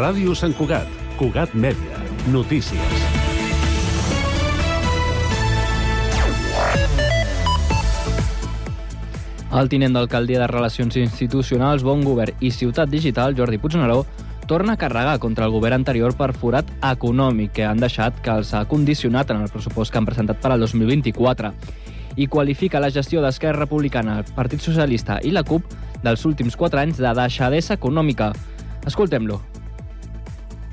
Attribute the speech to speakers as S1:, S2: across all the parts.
S1: Ràdio Sant Cugat, Cugat Mèdia, notícies.
S2: El tinent d'alcaldia de Relacions Institucionals, Bon Govern i Ciutat Digital, Jordi Puigneró, torna a carregar contra el govern anterior per forat econòmic que han deixat que els ha condicionat en el pressupost que han presentat per al 2024 i qualifica la gestió d'Esquerra Republicana, el Partit Socialista i la CUP dels últims quatre anys de deixadesa econòmica. Escoltem-lo.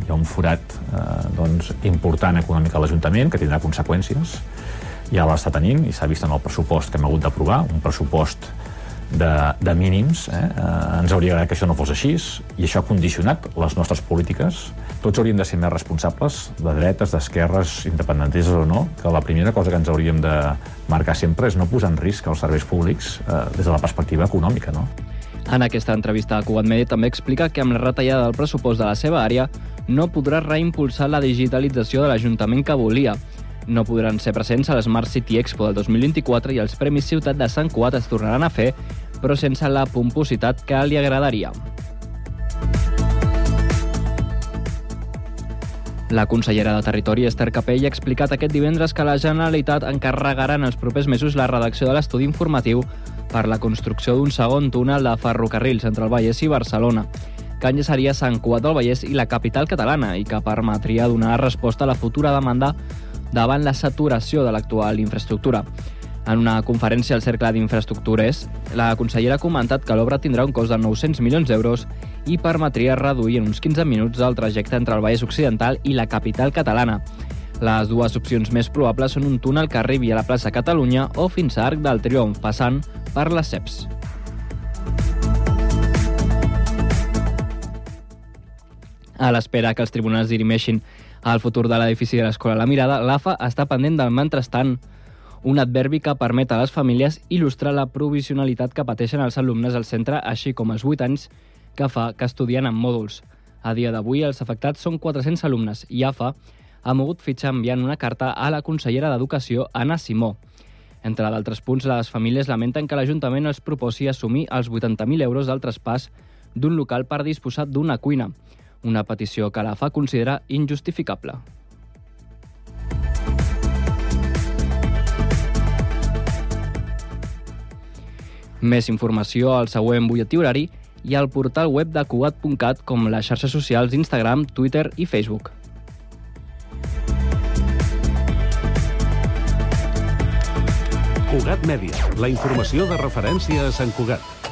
S3: Hi ha un forat eh, doncs, important econòmic a l'Ajuntament que tindrà conseqüències. Ja l'està tenint i s'ha vist en el pressupost que hem hagut d'aprovar, un pressupost de, de mínims. Eh? Eh, ens hauria agradat que això no fos així i això ha condicionat les nostres polítiques. Tots hauríem de ser més responsables, de dretes, d'esquerres, independentistes o no, que la primera cosa que ens hauríem de marcar sempre és no posar en risc els serveis públics eh, des de la perspectiva econòmica. No?
S2: En aquesta entrevista a Cugat Media també explica que amb la retallada del pressupost de la seva àrea no podrà reimpulsar la digitalització de l'Ajuntament que volia. No podran ser presents a l'Smart City Expo del 2024 i els Premis Ciutat de Sant Cugat es tornaran a fer, però sense la pompositat que li agradaria. La consellera de Territori, Esther Capell, ha explicat aquest divendres que la Generalitat encarregarà en els propers mesos la redacció de l'estudi informatiu per la construcció d'un segon túnel de ferrocarrils entre el Vallès i Barcelona, que enllaçaria Sant Cugat del Vallès i la capital catalana i que permetria donar resposta a la futura demanda davant la saturació de l'actual infraestructura. En una conferència al Cercle d'Infraestructures, la consellera ha comentat que l'obra tindrà un cost de 900 milions d'euros i permetria reduir en uns 15 minuts el trajecte entre el Vallès Occidental i la capital catalana. Les dues opcions més probables són un túnel que arribi a la plaça Catalunya o fins a Arc del Triomf, passant per les CEPs. A l'espera que els tribunals dirimeixin el futur de l'edifici de l'Escola La Mirada, l'AFA està pendent del mentrestant un adverbi que permet a les famílies il·lustrar la provisionalitat que pateixen els alumnes al centre, així com els 8 anys que fa que estudien en mòduls. A dia d'avui, els afectats són 400 alumnes i AFA ha mogut fitxa enviant una carta a la consellera d'Educació, Anna Simó. Entre d'altres punts, les famílies lamenten que l'Ajuntament els proposi assumir els 80.000 euros del traspàs d'un local per disposar d'una cuina, una petició que la fa considerar injustificable. Més informació al següent butlletí horari i al portal web de Cugat.cat com les xarxes socials Instagram, Twitter i Facebook.
S1: Cugat Mèdia, la informació de referència a Sant Cugat.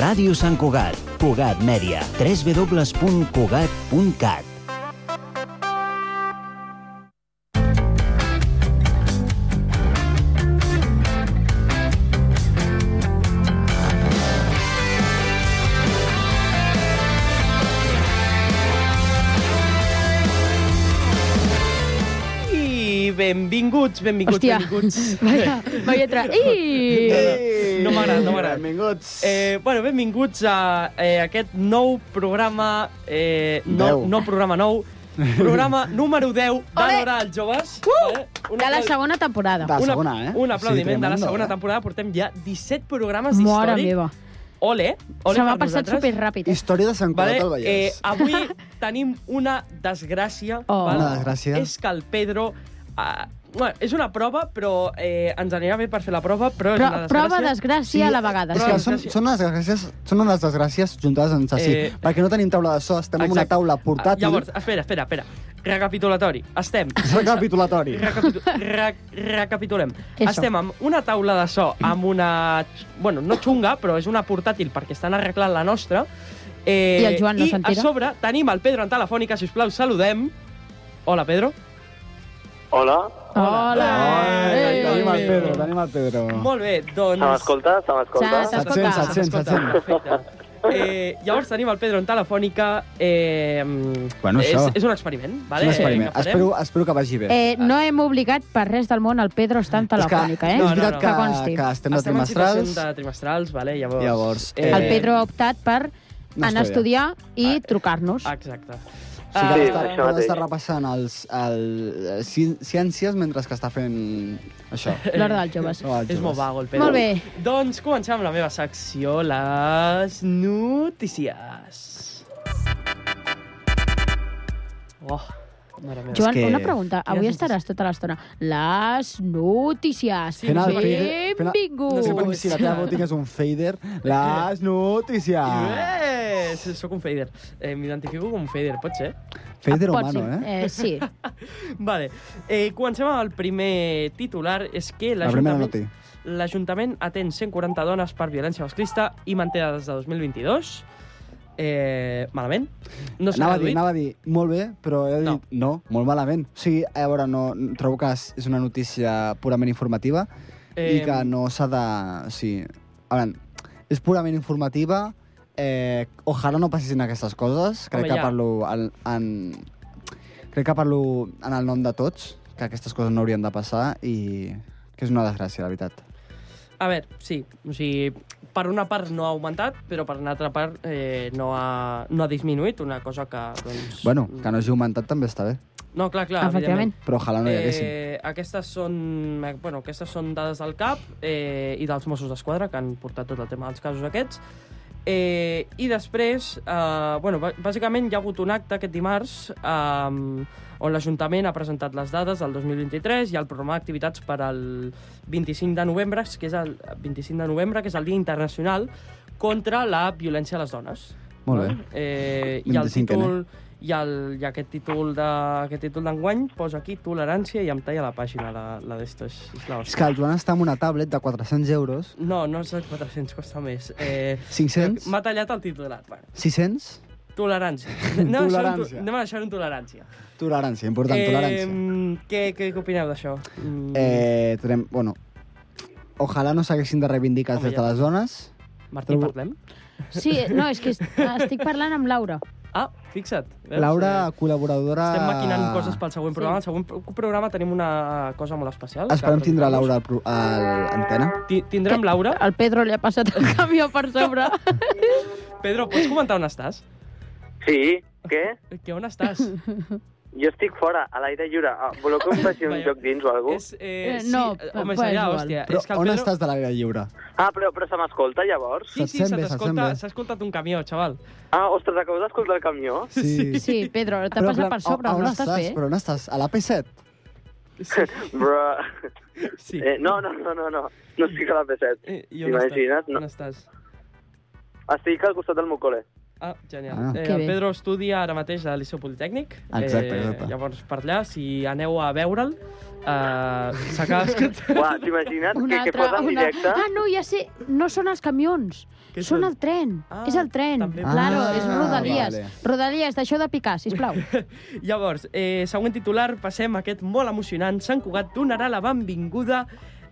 S4: Ràdio Sant Cugat, Cugat Mèdia, www.cugat.cat.
S5: I benvinguts, benvinguts,
S6: Hòstia.
S5: benvinguts.
S6: Vaya, vaya tra... Ii!
S5: No m'agrada, no m'agrada.
S7: Benvinguts.
S5: Eh, bueno, benvinguts a eh, aquest nou programa, eh, no,
S7: Deu.
S5: no programa nou, programa número 10 de
S6: Ole! Uh!
S5: l'Hora als Joves. Eh? Un
S6: De la
S5: aplau-
S6: segona temporada.
S7: Va.
S5: una-
S7: segona, eh?
S5: Un aplaudiment
S7: Sí,
S5: sí, de la
S7: tremendo,
S5: segona
S7: eh?
S5: temporada. Portem ja 17 programes
S6: Mare
S5: d'històric.
S6: meva.
S5: Ole, ole
S6: Se m'ha
S5: per
S6: passat
S5: nosaltres.
S6: superràpid. Eh?
S7: Història de Sant Cugat
S5: Vale,
S7: del
S5: eh,
S7: Vallès.
S5: avui tenim una desgràcia.
S6: Oh.
S5: val?
S7: Una desgràcia.
S5: És que el Pedro... Uh, bueno, és una prova, però eh, ens anirà bé per fer la prova, però, és
S6: Pro
S5: una desgràcia.
S6: prova desgràcia a la vegada.
S7: És
S5: Però-
S7: que
S6: Sí.
S7: són, són, unes desgràcies, són unes desgràcies juntades en saci,
S5: Eh,
S7: eh, perquè no tenim taula de so, estem en una
S5: Exacte.
S7: taula portàtil.
S5: Ah, Llavors, espera, espera, espera. Recapitulatori. Estem...
S7: Recapitulatori.
S5: Recapitu re recapitulem.
S6: Eso.
S5: Estem amb una taula de so amb una... Bueno, no xunga, però és una portàtil perquè estan arreglant la nostra. Eh,
S6: I el Joan
S5: i
S6: no s'entera?
S5: a sobre tenim el Pedro en telefònica, si us plau, saludem. Hola, Pedro.
S8: Hola,
S6: Hola.
S7: Ai,
S6: Eh.
S7: tenim el Pedro, tenim el Pedro.
S5: Molt bé, doncs...
S8: se m'escolta? Se m'escolta?
S6: Ja,
S7: S'escolta. S'escolta.
S5: Se'ns escolta,
S7: S'escolta.
S5: perfecte. Eh, llavors tenim el Pedro en telefònica. Eh,
S7: Bueno,
S5: és,
S7: això.
S5: és un experiment,
S7: És
S5: vale?
S7: un experiment.
S5: Eh, que farem.
S7: Espero, espero que vagi bé.
S6: Eh, no hem obligat per res del món el Pedro està en telefònica, eh?
S7: És
S5: No, no,
S7: veritat
S5: no.
S7: que,
S6: Que consti.
S7: que estem de
S5: en
S7: trimestrals.
S5: situació de trimestrals, vale, llavors... eh,
S7: Llavors, eh,
S6: El Pedro ha optat per
S7: No Ah,
S6: anar a
S7: estudia.
S6: estudiar i trucar-nos.
S5: Exacte.
S7: O
S5: Ah,
S7: sigui,
S8: Sí,
S7: sí, està, ha
S8: això mateix.
S7: d'estar repassant els, el, eh, ci- ciències mentre que està fent això.
S6: L'hora dels joves.
S7: L'hora dels
S5: És molt
S7: joves.
S5: vago el Pedro.
S6: Molt bé.
S5: Doncs comencem amb la meva secció, les notícies. Oh, mare meva.
S6: Joan,
S7: És que-
S6: una pregunta. Avui
S5: Quines
S6: estaràs tota l'estona. Les notícies.
S5: Sí, Fent el
S7: fader- fent el- No sé per què,
S6: Benvinguts.
S7: si la teva botiga és un fader, les notícies.
S5: Eh, sóc un fader. Eh, M'identifico com un fader, Ah, pot ser?
S7: Fader
S6: Pot
S7: humano,
S6: ser.
S7: eh?
S6: eh? Sí.
S5: Vale. Eh, comencem amb el primer titular. És que
S7: La primera
S5: l'Ajuntament
S7: noti.
S5: l'Ajuntament atén 140 dones per violència masclista i manté des de 2022. Eh, malament. No s'ha
S7: anava, a dir,
S5: reduït.
S7: anava a dir, molt bé, però he dit,
S5: No.
S7: no, no molt malament. O sigui, a veure, no, trobo que és és una notícia purament informativa eh... i
S5: Em,
S7: que no s'ha de... O sigui, a veure, és purament informativa, eh, ojalà no passessin aquestes coses, crec
S5: Home,
S7: que
S5: ja.
S7: parlo en, en, crec que parlo en el nom de tots, que aquestes coses no haurien de passar i que és una desgràcia, la veritat.
S5: A veure, sí, o sigui, per una part no ha augmentat, però per una altra part eh, no, ha, no ha disminuït, una cosa que, doncs...
S7: Bueno, que no hagi augmentat també està bé,
S5: No, clar, clar,
S6: Efectivament.
S7: però ojalà no hi haguessin.
S5: Eh, aquestes, són, eh, bueno, aquestes són dades del CAP eh, i dels Mossos d'Esquadra, que han portat tot el tema dels casos aquests. Eh, I després, eh, bueno, bà- bàsicament hi ha hagut un acte aquest dimarts eh, on l'Ajuntament ha presentat les dades del 2023 i el programa d'activitats per al 25 de novembre, que és el 25 de novembre, que és el Dia Internacional contra la violència a les dones.
S7: Molt bé.
S5: Eh, I el
S7: 25ena.
S5: títol... I, el, i aquest títol de, aquest títol d'enguany posa aquí tolerància i em talla la pàgina la, la d'estos. És la
S7: És
S5: hòstia.
S7: que el Joan està amb una tablet de 400 euros,
S5: No, no és el 400, costa més. Eh,
S7: 500,
S5: M'ha tallat el titular. Bueno,
S7: 600,
S5: tolerància. Anem a deixar-ho en to-
S7: Tolerància.
S5: Anem a deixar-ho en tolerància.
S7: Tolerància, important, eh... tolerància.
S5: Eh, què, què, què opineu d'això? Mm,
S7: Eh, tenim, bueno, ojalà no s'haguessin de reivindicar els
S5: Home,
S7: drets de
S5: ja.
S7: les dones.
S5: Martí,
S7: trobo-
S5: parlem?
S6: Sí, no, és que est- estic parlant amb Laura.
S5: Ah, fixa't. Veus?
S7: Laura,
S5: Eh,
S7: col·laboradora...
S5: Estem maquinant coses pel següent
S6: Sí.
S5: programa. El següent pro- programa tenim una cosa molt especial.
S7: eh, Esperem
S5: que-
S7: tindrà Laura al pro- a l'antena.
S5: Ti- Tindrem Laura.
S6: El Pedro li ha passat el camió per sobre.
S5: Pedro, pots comentar on estàs?
S8: Sí, què?
S5: Que on estàs?
S8: Jo estic fora, a l'aire lliure. Ah, voleu que us faci un
S5: Vaja.
S8: joc dins o alguna cosa?
S5: És, eh,
S6: Eh,
S5: sí,
S6: no,
S5: eh, home,
S6: però
S5: seria,
S6: és igual.
S5: hòstia.
S7: Però
S5: és que el
S7: on
S5: Pedro...
S7: estàs de l'aire lliure?
S8: Ah, però, però se m'escolta, llavors?
S5: Sí,
S7: Se't
S5: sí, se
S7: sent bé, se't sent
S5: t'escolta,
S7: bé.
S5: s'ha escoltat un camió, xaval.
S8: Ah, ostres, acabo d'escoltar el camió?
S7: Sí.
S6: Sí, Pedro, t'ha
S7: Però,
S6: passat
S7: en plan,
S6: per sobre.
S7: a- a on
S6: No estàs bé?
S7: Però on estàs? A la P7?
S5: Sí,
S8: Bro...
S5: sí.
S8: Eh, no, no, no, no, no. No estic a la P7.
S5: Eh, i
S8: t'imagines?
S5: estàs?
S8: No.
S5: On estàs?
S8: Estic al costat del meu col·le.
S5: Ah, genial.
S7: Ah.
S5: eh,
S6: Que
S5: el
S6: bé.
S5: Pedro estudia ara mateix a l'Iceu Politécnic.
S7: Exacte, exacte.
S5: Llavors, per allà, si aneu a veure'l, eh, s'acaba escoltant...
S8: Uah, t'imagines
S6: Un
S8: que, que
S6: altre,
S8: posa en
S6: un altre.
S8: directe?
S6: Ah, no, ja sé, no són els camions,
S5: Què
S6: són
S5: són?
S6: el tren.
S5: Ah,
S6: és el tren.
S5: també.
S6: Claro,
S5: Ah,
S6: és Rodalies.
S7: vale.
S6: Rodalies, deixeu de picar, sisplau.
S5: Llavors, eh, següent titular, passem a aquest molt emocionant. Sant Cugat donarà la benvinguda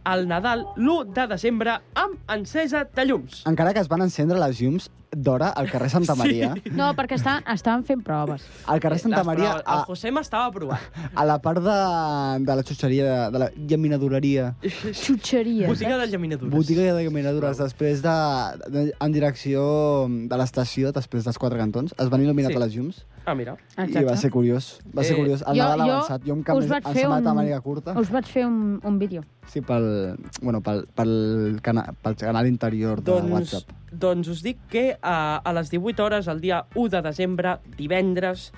S5: al Nadal l'1 de desembre amb encesa de llums.
S7: Encara que es van encendre les llums d'hora al carrer Santa Maria,
S6: No, perquè estan, estaven fent proves.
S7: al carrer Santa
S5: Les
S7: Maria,
S5: proves.
S7: a,
S5: El José m'estava provant.
S7: a la part de, de la xutxeria, de, de la llaminadoreria,
S6: Xutxeria.
S5: Botiga de llaminadures.
S7: botiga de llaminadures, després de, de, en direcció de l'estació, després dels quatre cantons, es van il·luminar
S5: Sí.
S7: sí. les llums.
S5: Ah, mira.
S7: Exacte. I va ser curiós, va ser
S5: Eh,
S7: curiós. El
S6: jo-
S7: Nadal
S6: jo
S7: avançat. Jo, en
S6: us
S7: canvi,
S6: vaig
S7: em
S6: fer
S7: sembla de
S6: un-
S7: màniga curta.
S6: Us vaig fer un, un vídeo.
S7: Sí, pel, bueno, pel, pel, cana, pel canal interior de
S5: Doncs,
S7: Ah, WhatsApp.
S5: doncs us dic que a, a les 18 hores, el dia 1 de desembre, divendres,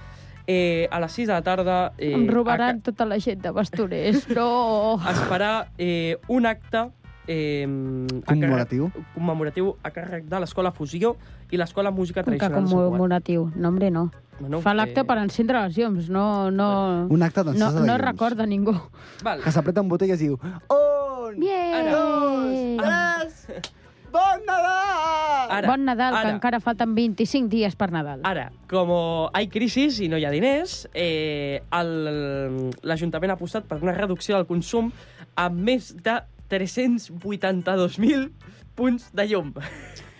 S5: eh, a les 6 de la tarda... Eh,
S6: Em robaran tota la gent de Bastoners. No!
S5: A, es farà eh, un acte eh, a
S7: Commemoratiu.
S5: càrrec- commemoratiu a càrrec de l'Escola Fusió i l'Escola Música
S6: Com que
S5: Tradicional. de Sant Cugat.
S6: commemoratiu. No, hombre, no.
S5: Bueno, eh,
S6: Fa l'acte per encendre les llums, no... no...
S7: Un acte
S6: No,
S7: d'encesa de
S6: no
S7: llums.
S6: recorda ningú.
S5: Val.
S7: Que s'apreta un botó i es diu "Oh, On?
S6: Bien!
S7: Bon Nadal!
S5: Ara,
S6: Bon Nadal,
S5: ara.
S6: que encara falten 25 dies per Nadal.
S5: Ara, com hi ha crisi i no hi ha diners, eh, el- l'Ajuntament ha apostat per una reducció del consum amb més de 382.000 punts de llum.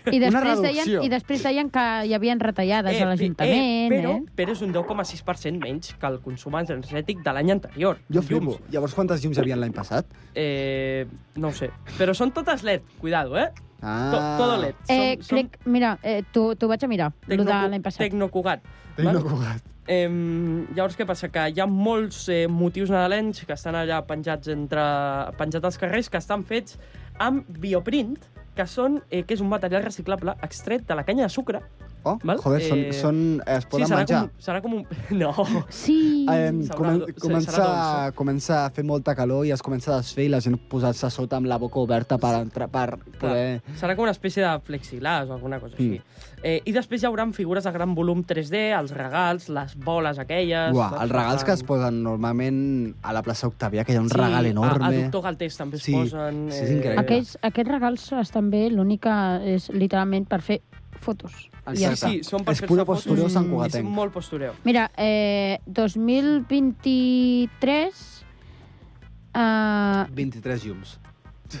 S6: I
S7: Una
S6: després, deien,
S7: reducció.
S6: I després deien que hi havien retallades
S5: Eh,
S6: a l'Ajuntament,
S5: però,
S6: eh?
S5: però és un 10,6% menys que el consum energètic de l'any anterior.
S7: Jo
S5: Llums.
S7: flipo. Llavors, quantes llums hi havia l'any passat?
S5: Eh, no ho sé. Però són totes LED, cuidado, eh?
S7: Ah.
S5: To, todo E LED.
S6: Eh, crec, mira, eh, t'ho t'ho vaig a mirar, Eh, lo de l'any passat.
S5: Tecnocugat.
S7: Tecno Cugat.
S5: Eh, llavors, què passa? Que hi ha molts eh, motius nadalencs que estan allà penjats, entre, penjats als carrers que estan fets amb bioprint, que, són, eh, que és un material reciclable extret de la canya de sucre.
S7: Oh,
S5: Val?
S7: joder, són,
S5: Eh,
S7: són, es poden
S5: serà
S7: menjar.
S5: Com, serà com un... No,
S6: Sí.
S7: Eh, comen
S5: Sabrà-
S7: comença,
S5: serà dolç.
S7: comença a fer molta calor i es comença a desfer i la gent posar-se a sota amb la boca oberta per, entrar, per poder... Mm.
S5: serà com una espècie de plexiglas o alguna cosa així. Eh, I després hi haurà figures de gran volum 3D, els regals, les boles aquelles...
S7: Uah,
S5: saps?
S7: els regals que es posen normalment a la plaça Octavià, que hi ha un regal
S5: A, a
S7: enorme.
S5: Doctor Galtés també
S7: Sí,
S5: es posen... eh,
S7: sí, és increïble.
S6: Aquests, aquests regals estan bé, l'única és literalment per fer fotos. I ja
S5: Sí,
S6: està.
S5: sí, són per
S7: És
S5: fer-se
S7: pura
S5: fotos
S7: postureo
S5: i
S7: santcugatenc.
S5: són molt postureo.
S6: Mira, eh, 2023... Eh,
S7: 23 llums.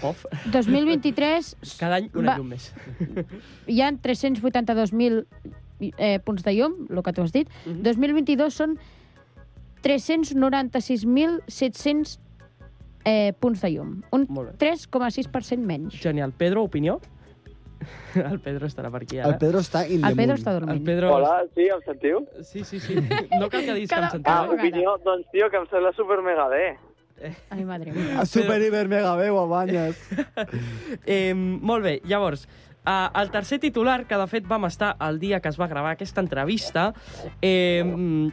S5: Bof,
S6: 2023
S5: cada any una
S6: Va.
S5: llum més.
S6: hi ha 382.000 eh, punts de llum, el que tu has dit.
S5: Mhm.
S6: 2022 són 396.700 eh, punts de llum. Un
S5: Molt bé.
S6: 3,6% menys.
S5: Genial. Pedro, opinió? El Pedro estarà per aquí,
S7: El
S5: ara.
S7: Pedro està in the
S6: El Pedro
S7: moon.
S6: està
S5: El
S6: dormint.
S5: Pedro...
S8: Hola, sí, em sentiu?
S5: Sí, sí, sí. No cal que diguis que em
S6: Cada-
S8: Ah,
S5: sentiu.
S6: vegada.
S8: opinió? Doncs, tio, que em sembla super mega bé.
S6: Ai, madre mía.
S7: A super hiper mega veu, abanyes.
S5: Eh, molt bé, llavors, eh, el tercer titular, que de fet vam estar el dia que es va gravar aquesta entrevista, eh,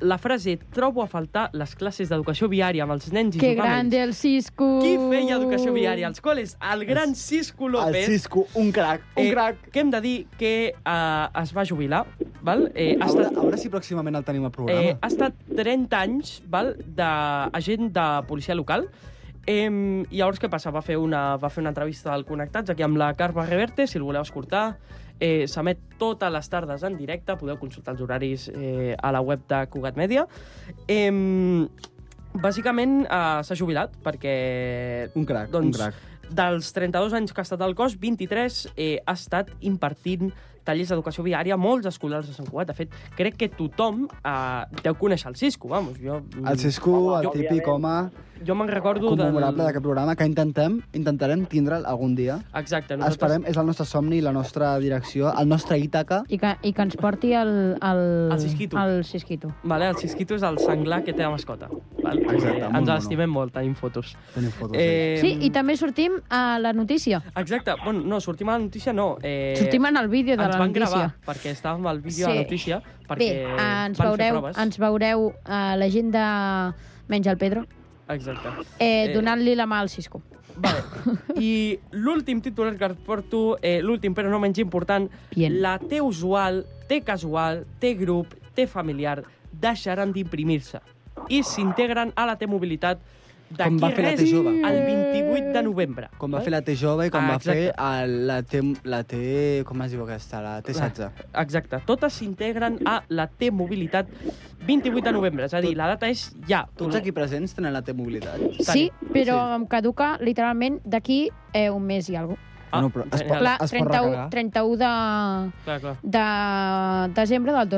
S5: la frase «Trobo a faltar les classes d'educació viària amb els nens i
S6: Que
S5: jugant amb
S6: grande el Cisco!
S5: Qui feia educació viària als col·les? El gran Cisco
S7: El
S5: López.
S7: Cisco, un crac, un
S5: Eh,
S7: crac.
S5: que hem de dir que eh, es va jubilar, val? Eh, ha,
S7: A veure,
S5: estat,
S7: a veure si pròximament el tenim al programa.
S5: eh, ha estat 30 anys val? d'agent de policia local. Eh, I llavors què passa? Va fer, una, va fer una entrevista al Connectats aquí amb la Carme Reverte, si el voleu escoltar. Eh, S'emet totes les tardes en directe, podeu consultar els horaris eh, a la web de Cugat Media. Eh, bàsicament eh, s'ha jubilat perquè
S7: un crac, un
S5: doncs,
S7: crac.
S5: dels 32 anys que ha estat al cos, 23 eh, ha estat impartint tallers d'educació viària a molts escolars de Sant Cugat. De fet, crec que tothom eh, deu conèixer el Cisco, vamos. Jo,
S7: El Cisco,
S8: Home,
S7: el
S8: jo,
S7: típic home
S5: jo me'n recordo
S7: commemorable d'aquest programa que intentem, intentarem tindre'l algun dia.
S5: Exacte, nosaltres...
S7: Esperem, és el nostre somni, la nostra direcció, el nostre Ítaca.
S6: I que, I que ens porti el... El,
S5: El Sisquito.
S6: El Sisquito.
S5: Vale, el Cisquito és el senglar que té de mascota. Val?
S7: Exacte,
S5: eh,
S7: molt
S5: ens
S7: mono.
S5: l'estimem molt, tenim fotos.
S7: Tenim fotos. Eh...
S5: Eh,
S6: Sí, i també sortim a la notícia.
S5: Exacte, bueno, no, sortim a la notícia, no. Eh,
S6: Sortim en el vídeo de
S5: ens
S6: la
S5: van
S6: notícia.
S5: gravar, perquè estàvem al vídeo de
S6: Sí.
S5: la notícia, perquè
S6: Bé, ah, ens
S5: van fer
S6: veureu,
S5: proves.
S6: ens veureu a la gent de Menys el Pedro
S5: Exacte.
S6: eh,
S5: Eh,
S6: donant-li la mà al Cisco.
S5: Vale. I l'últim titular que et porto, eh, l'últim però no menys important,
S6: Bien.
S5: la T usual, T casual, T grup, T familiar deixaran d'imprimir-se i s'integren a la T mobilitat
S7: Com va
S5: d'aquí
S7: fer la
S5: res
S7: T jove.
S5: el 28 de novembre.
S7: Com va fer la T jove i com
S5: Ah,
S7: va fer
S5: exacte.
S7: el, la, T, la T... Com es diu aquesta? La T16.
S5: Ah, Exacte, totes s'integren a la T mobilitat 28 de novembre, és a dir, la data és ja.
S7: Tots aquí presents tenen la T mobilitat.
S6: Sí, però em caduca literalment d'aquí eh, un mes i alguna cosa.
S5: Ah,
S7: no, però es pot,
S6: Clar,
S7: es pot recagar.
S6: 31, 31 de,
S5: Clar, clar,
S6: de desembre del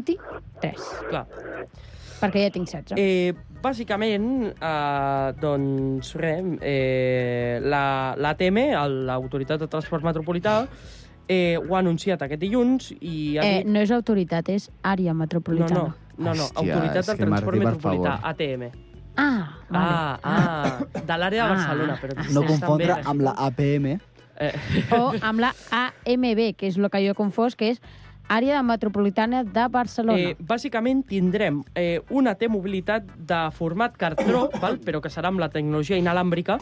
S6: 2023,
S5: clar.
S6: perquè ja tinc 16.
S5: Eh, bàsicament, eh, doncs, res, eh, la- l'ATM, el- l'Autoritat de Transport Metropolità, eh, ho ha anunciat aquest dilluns i ha
S6: Eh,
S5: dit...
S6: no és autoritat, és àrea
S5: no,
S6: metropolitana.
S5: no, no, no,
S7: Hòstia,
S5: Autoritat
S7: és
S5: del
S7: que
S5: Transport
S7: Martí, per
S5: Metropolità,
S7: favor.
S5: ATM.
S6: Ah, vale.
S5: Ah, ah, de l'àrea de
S6: Ah.
S5: Barcelona, però...
S6: No
S7: No
S5: estan
S7: confondre
S5: bé.
S7: amb la APM.
S5: Eh,
S6: O amb la AMB, que és el que jo he confós, que és àrea metropolitana de Barcelona.
S5: eh, bàsicament tindrem eh, una T-mobilitat de format cartró, val? però que serà amb la tecnologia inalàmbrica,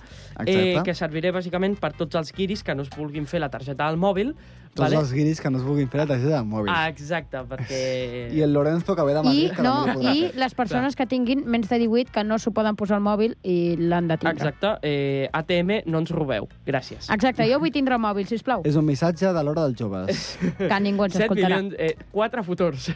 S5: eh,
S7: Exacte.
S5: que serviré bàsicament per tots els guiris que no es vulguin fer la targeta al mòbil.
S7: Tots els guiris que no es vulguin fer la targeta de mòbil.
S5: Ah, exacte, perquè...
S7: I el Lorenzo que ve de
S6: I,
S7: Madrid, que
S6: no,
S7: també ho podrà
S6: i
S7: fer.
S6: les persones que tinguin menys de 18 que no s'ho poden posar al mòbil i l'han de tindre.
S5: Exacte, eh, ATM, no ens robeu. Gràcies.
S7: Ah,
S6: Exacte, jo vull tindre el mòbil, sisplau,
S7: És un missatge de l'hora dels joves.
S6: que ningú ens
S5: 7
S6: escoltarà.
S5: milions... Eh, 4 futurs.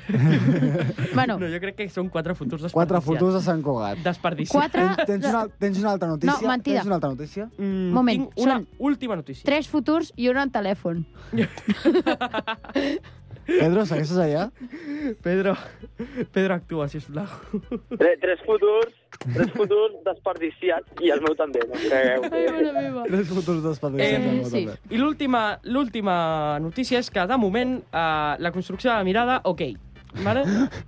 S6: Bueno,
S5: No, jo crec que són 4 futurs desperdiciats.
S7: Quatre futurs a Sant Cugat.
S5: Desperdiciats.
S6: quatre...
S7: Tens, tens, una, tens una altra notícia?
S6: No, mentida.
S7: Tens una altra notícia?
S5: Mm,
S6: Moment,
S5: tinc una
S6: són-
S5: última notícia.
S6: Tres futurs i un en telèfon.
S7: Pedro, segueixes allà?
S5: Pedro, Pedro actua, sisplau.
S8: Tre- Tres futurs, tres futurs desperdiciats i el meu també, no us cregueu.
S6: meva.
S7: Tres futurs desperdiciats.
S5: Eh,
S7: Eh,
S5: I
S6: sí.
S5: l'última l'última notícia és que, de moment, eh, la construcció de la mirada, ok. Vale?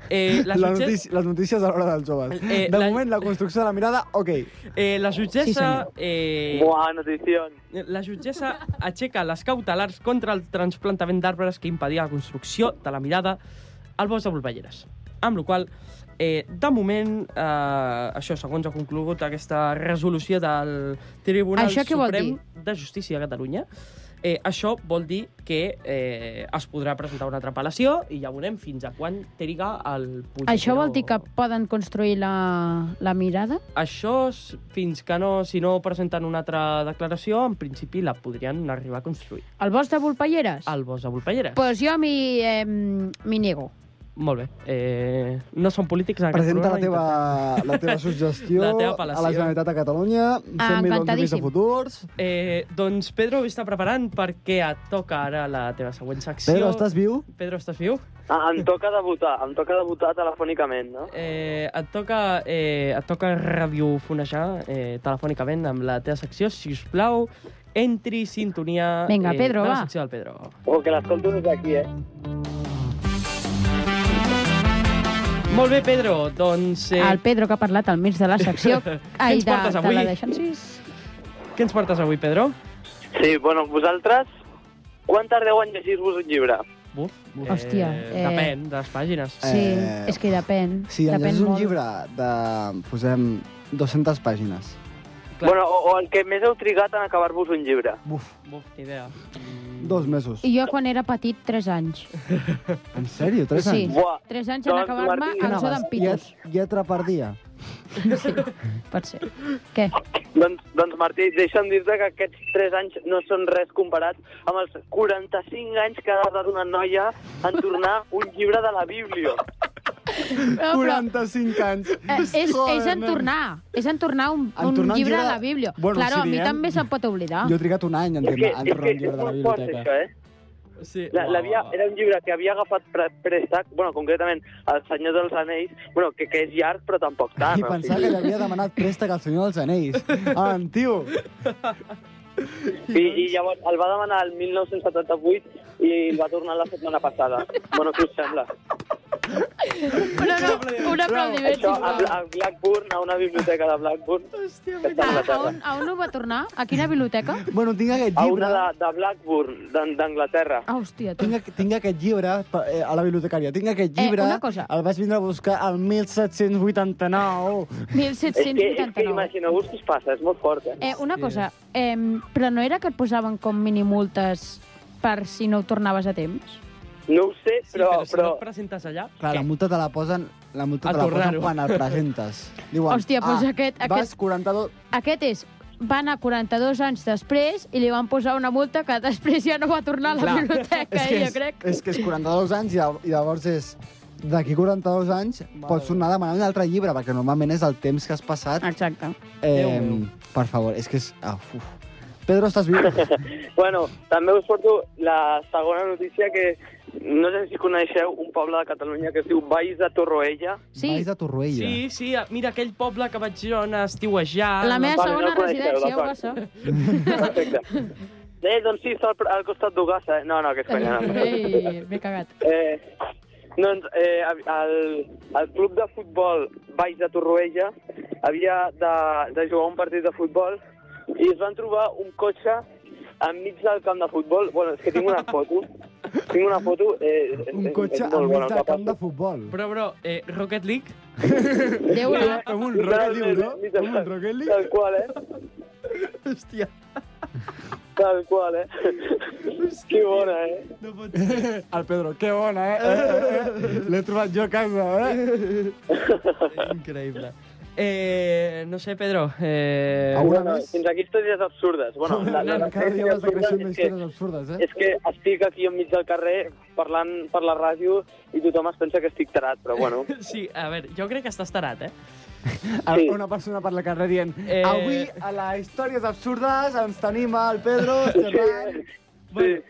S5: Eh, la,
S7: La
S5: jutge...
S7: notícia, les notícies a l'hora dels joves.
S5: Eh,
S7: de
S5: la-
S7: moment, la construcció de la mirada, ok.
S5: eh, la jutgessa... eh,
S8: Buah, notición.
S5: La jutgessa aixeca les cautelars contra el transplantament d'arbres que impedia la construcció de la mirada al bosc de Volvelleres. Amb la qual cosa, eh, de moment, eh, això, segons ha conclogut aquesta resolució del Tribunal
S6: Això què vol
S5: Suprem de Justícia de Catalunya, eh, això vol dir que eh, es podrà presentar una altra apel·lació i ja veurem fins a quan triga el Puigdemont.
S6: Això vol dir que poden construir la, la mirada?
S5: Això, s- fins que no, si no presenten una altra declaració, en principi la podrien arribar a construir.
S6: El bosc de Volpelleres?
S5: al bosc de Volpelleres.
S6: Pues jo m'hi eh, m'hi nego.
S5: Molt bé. Eh, no són polítics en aquest
S7: Presenta la
S5: programa,
S7: teva, la teva suggestió
S5: La
S7: a
S5: teva apel·lació.
S7: la Generalitat de Catalunya. 100 milions de
S6: Ah, encantadíssim.
S7: futurs.
S5: intentem. Eh, doncs Pedro ho està preparant perquè et toca ara la teva següent secció.
S7: Pedro, estàs viu?
S5: Pedro, estàs viu?
S8: Ah, em toca debutar, em toca debutar telefònicament, no?
S5: Eh, et, toca, eh, et toca radiofonejar eh, telefònicament amb la teva secció. Si us plau, entri sintonia eh,
S6: Vinga, Pedro,
S5: de la
S6: va.
S5: secció del Pedro.
S8: O que l'escolto des d'aquí, eh?
S5: Molt bé, Pedro. Doncs eh,
S6: El Pedro que ha parlat al mig de la secció. Ai,
S5: ens
S6: de,
S5: portes
S6: de
S5: avui?
S6: la deixancis.
S5: què ens portes avui, Pedro?
S8: Sí, bueno, vosaltres... Quan tardeu en llegir-vos un llibre?
S5: Buf,
S6: Hòstia,
S5: Eh,
S6: eh.
S5: Depèn de les pàgines.
S6: Sí,
S7: Eh,
S6: és que depèn.
S7: Si en
S6: depèn
S7: llegeixes un
S6: molt.
S7: llibre de, posem, 200 pàgines.
S5: Clar.
S8: Bueno, o, o el que més heu trigat en acabar-vos un llibre.
S7: Buf,
S5: Buf, ni idea. Mm.
S7: dos mesos.
S6: I jo quan era petit, 3 anys.
S7: En sèrio, 3
S6: Sí.
S7: anys?
S8: Buah,
S6: 3 anys en
S8: Doncs,
S6: acabar-me
S8: Martí,
S7: Què
S6: el so
S7: anaves?
S6: d'en Pitus.
S7: Llet- Lletra per dia.
S6: Pot ser. Què?
S8: doncs, doncs Martí, deixa'm dir-te que aquests 3 anys no són res comparat amb els 45 anys que ha tardat una noia en tornar un llibre de la Bíblia.
S6: No, però,
S7: 45 anys.
S6: eh, és, és en tornar. És en tornar un,
S7: En
S6: un
S7: tornar un
S6: llibre
S7: llibre-
S6: a la Bíblia.
S7: Bueno,
S6: claro,
S7: si
S6: a mi
S7: diem-
S6: també se'n pot oblidar.
S7: Jo he trigat un any en
S8: és que,
S7: tornar en
S8: és,
S7: tornar
S8: que
S7: un llibre
S8: és
S7: de la
S8: molt fort,
S7: biblioteca.
S8: això, eh?
S5: Sí,
S8: La,
S5: va,
S8: la
S5: va,
S8: via,
S5: va.
S8: era un llibre que havia agafat pre préstec, bueno, concretament el Senyor dels Anells, bueno, que, que és llarg, però tampoc tant.
S7: I
S8: o
S7: pensar que
S8: sigui.
S7: li havia demanat préstec al senyor dels anells. Ah, tio!
S8: I, I llavors el va demanar el 1978 i el va tornar la setmana passada. bueno, què us sembla?
S6: Però no, un aplaudiment,
S8: Això a,
S6: sisplau.
S8: Bla- a Blackburn, a una biblioteca de Blackburn, que està a
S6: A, a,
S8: Anglaterra.
S6: on, a on ho va tornar? A quina biblioteca?
S7: Bueno, tinc aquest
S8: A
S7: llibre...
S8: una de, de Blackburn, d'An- d'Anglaterra.
S6: Ah, hòstia, tu.
S7: Tinc, aqu- tinc aquest llibre per- eh, a la bibliotecària. Tinc aquest
S6: Eh,
S7: llibre...
S6: una cosa.
S7: El vaig vindre a buscar al 1789.
S8: És que, és que
S6: 1789.
S8: imagineu-vos què us passa, és molt fort, eh?
S6: Eh, una cosa, eh, però no era que et posaven com minimultes per si no ho tornaves a temps?
S8: No ho sé,
S5: Sí,
S8: però...
S5: però, si
S8: però...
S5: no et presentes allà...
S7: Clar, la multa te la posen, la multa
S5: A
S7: te la posen
S5: tornar-ho.
S7: quan el presentes. Diuen, "Ah,
S6: Hòstia, doncs aquest-
S7: vas
S6: aquest-
S7: 42...
S6: Aquest és, va anar 42 anys després i li van posar una multa que després ja no va tornar a la
S7: Clar,
S6: biblioteca, eh, jo crec.
S7: és que és 42 anys i, llav- i llavors és... D'aquí 42 anys
S5: Mare
S7: pots tornar a demanar un altre llibre, perquè normalment és el temps que has passat.
S6: Exacte.
S7: Eh,
S5: Déu meu.
S7: per favor, és que és... Ah, uf. Pedro, estàs viu?
S8: Bueno, també us porto la segona notícia que no sé si coneixeu un poble de Catalunya que es diu Valls de Torroella.
S6: Sí,
S7: Vais de Torroella.
S5: Sí, sí, mira, aquell poble que vaig jo anar a estiuejar...
S6: la meva
S8: Vale,
S6: segona
S8: no coneixeu,
S6: residència, ho
S8: d'acord.
S6: va ser.
S8: Perfecte. Eh, doncs sí, està al, al costat d'Ugassa. eh? No, no, que és conya. No.
S6: Ei, m'he cagat.
S8: Eh, doncs eh, el, el club de futbol Valls de Torroella havia de, de jugar un partit de futbol i es van trobar un cotxe enmig del camp de futbol. Bueno, és que tinc una foto. Tinc una foto... Eh,
S7: Un
S8: és-
S7: cotxe
S8: és
S7: al
S8: molt
S7: mig
S8: bona,
S7: de
S8: que
S7: camp de
S8: passa.
S7: futbol.
S5: Però, però, eh, Rocket League...
S6: Déu la...
S7: Com un Rocket League, no? Com un Rocket League.
S8: Tal qual, eh?
S5: Hòstia,
S8: Tal qual, eh? Que bona, eh?
S5: no pot ser.
S7: El Pedro, que bona, eh? eh, eh, eh. L'he trobat jo a casa, eh?
S5: Increïble. Eh, no sé, Pedro... Eh...
S7: Alguna
S8: Bueno,
S7: més?
S8: fins aquí històries absurdes. Bueno, la, la, la,
S7: Cada dia vas decreixent d'històries absurdes, eh?
S8: és que estic aquí enmig del carrer parlant per la ràdio i tothom es pensa que estic tarat, però bueno.
S7: Ah,
S5: Sí, a veure, jo crec que estàs tarat, eh?
S8: sí.
S7: Una persona per la carrer dient
S5: Eh.
S7: avui a les històries absurdes ens tenim el Pedro Serrán.
S5: Bueno,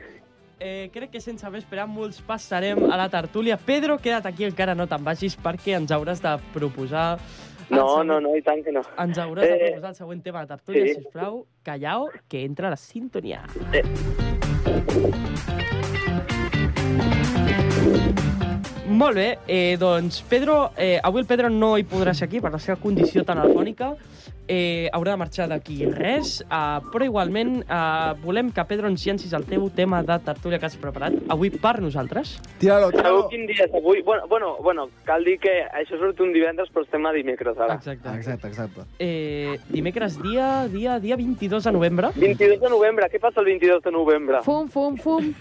S5: eh, crec que sense més preàmbuls passarem a la tertúlia. Pedro, queda't aquí, encara no te'n vagis, perquè ens hauràs de proposar... el
S8: No,
S5: següent-
S8: no, no, i tant que no.
S7: Ah,
S5: Ens hauràs de
S8: Eh,
S5: proposar el següent tema de tertúlia,
S8: sí.
S5: sí. sisplau. Callao, que entra la sintonia.
S8: Eh.
S5: Molt Molt bé, eh, doncs Pedro, eh, avui el Pedro no hi podrà ser aquí per la seva condició telefònica. Eh, haurà de marxar d'aquí res, eh, però igualment eh, volem que Pedro ens llencis el teu tema de tertúlia que has preparat avui per nosaltres.
S7: Tira-lo,
S8: Sabeu
S7: tira-lo.
S8: quin dia és avui? Bueno, bueno, bueno, cal dir que això surt un divendres, però estem a dimecres ara.
S5: Exacte.
S7: Exacte, exacte.
S5: Eh, dimecres dia, dia, dia 22 de novembre.
S8: 22 de novembre, què passa el 22 de novembre?
S6: Fum, fum, fum.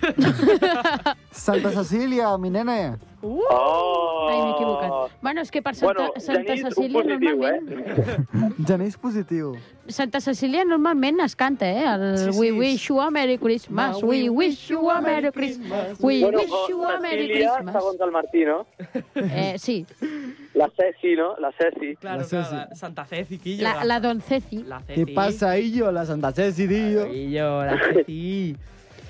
S7: Santa Cecília, mi nene.
S5: Uh!
S8: Oh!
S6: Ai, m'he equivocat. Bueno, és que per Santa,
S8: Bueno,
S6: Santa
S8: Genís, un
S6: Cecília
S8: positiu,
S6: normalment...
S7: Genís positiu.
S6: Eh? Santa Cecília normalment es canta, eh? El
S5: Sí,
S6: sí,
S5: sí.
S6: sí. We wish you a Merry Christmas,
S5: Ma,
S6: we wish you a Merry Christmas, we
S8: Bueno,
S6: wish you a Merry
S8: Cecília,
S6: Christmas.
S8: segons el Martí, no?
S6: Eh, sí,
S8: La Ceci, no? La Ceci.
S5: Claro,
S7: La
S5: clar,
S7: Ceci.
S5: la Santa Ceci, Quillo.
S6: la, la Don Ceci.
S5: la Ceci.
S7: Què passa, Illo? La Santa Ceci, tio.
S5: Quillo, la Ceci.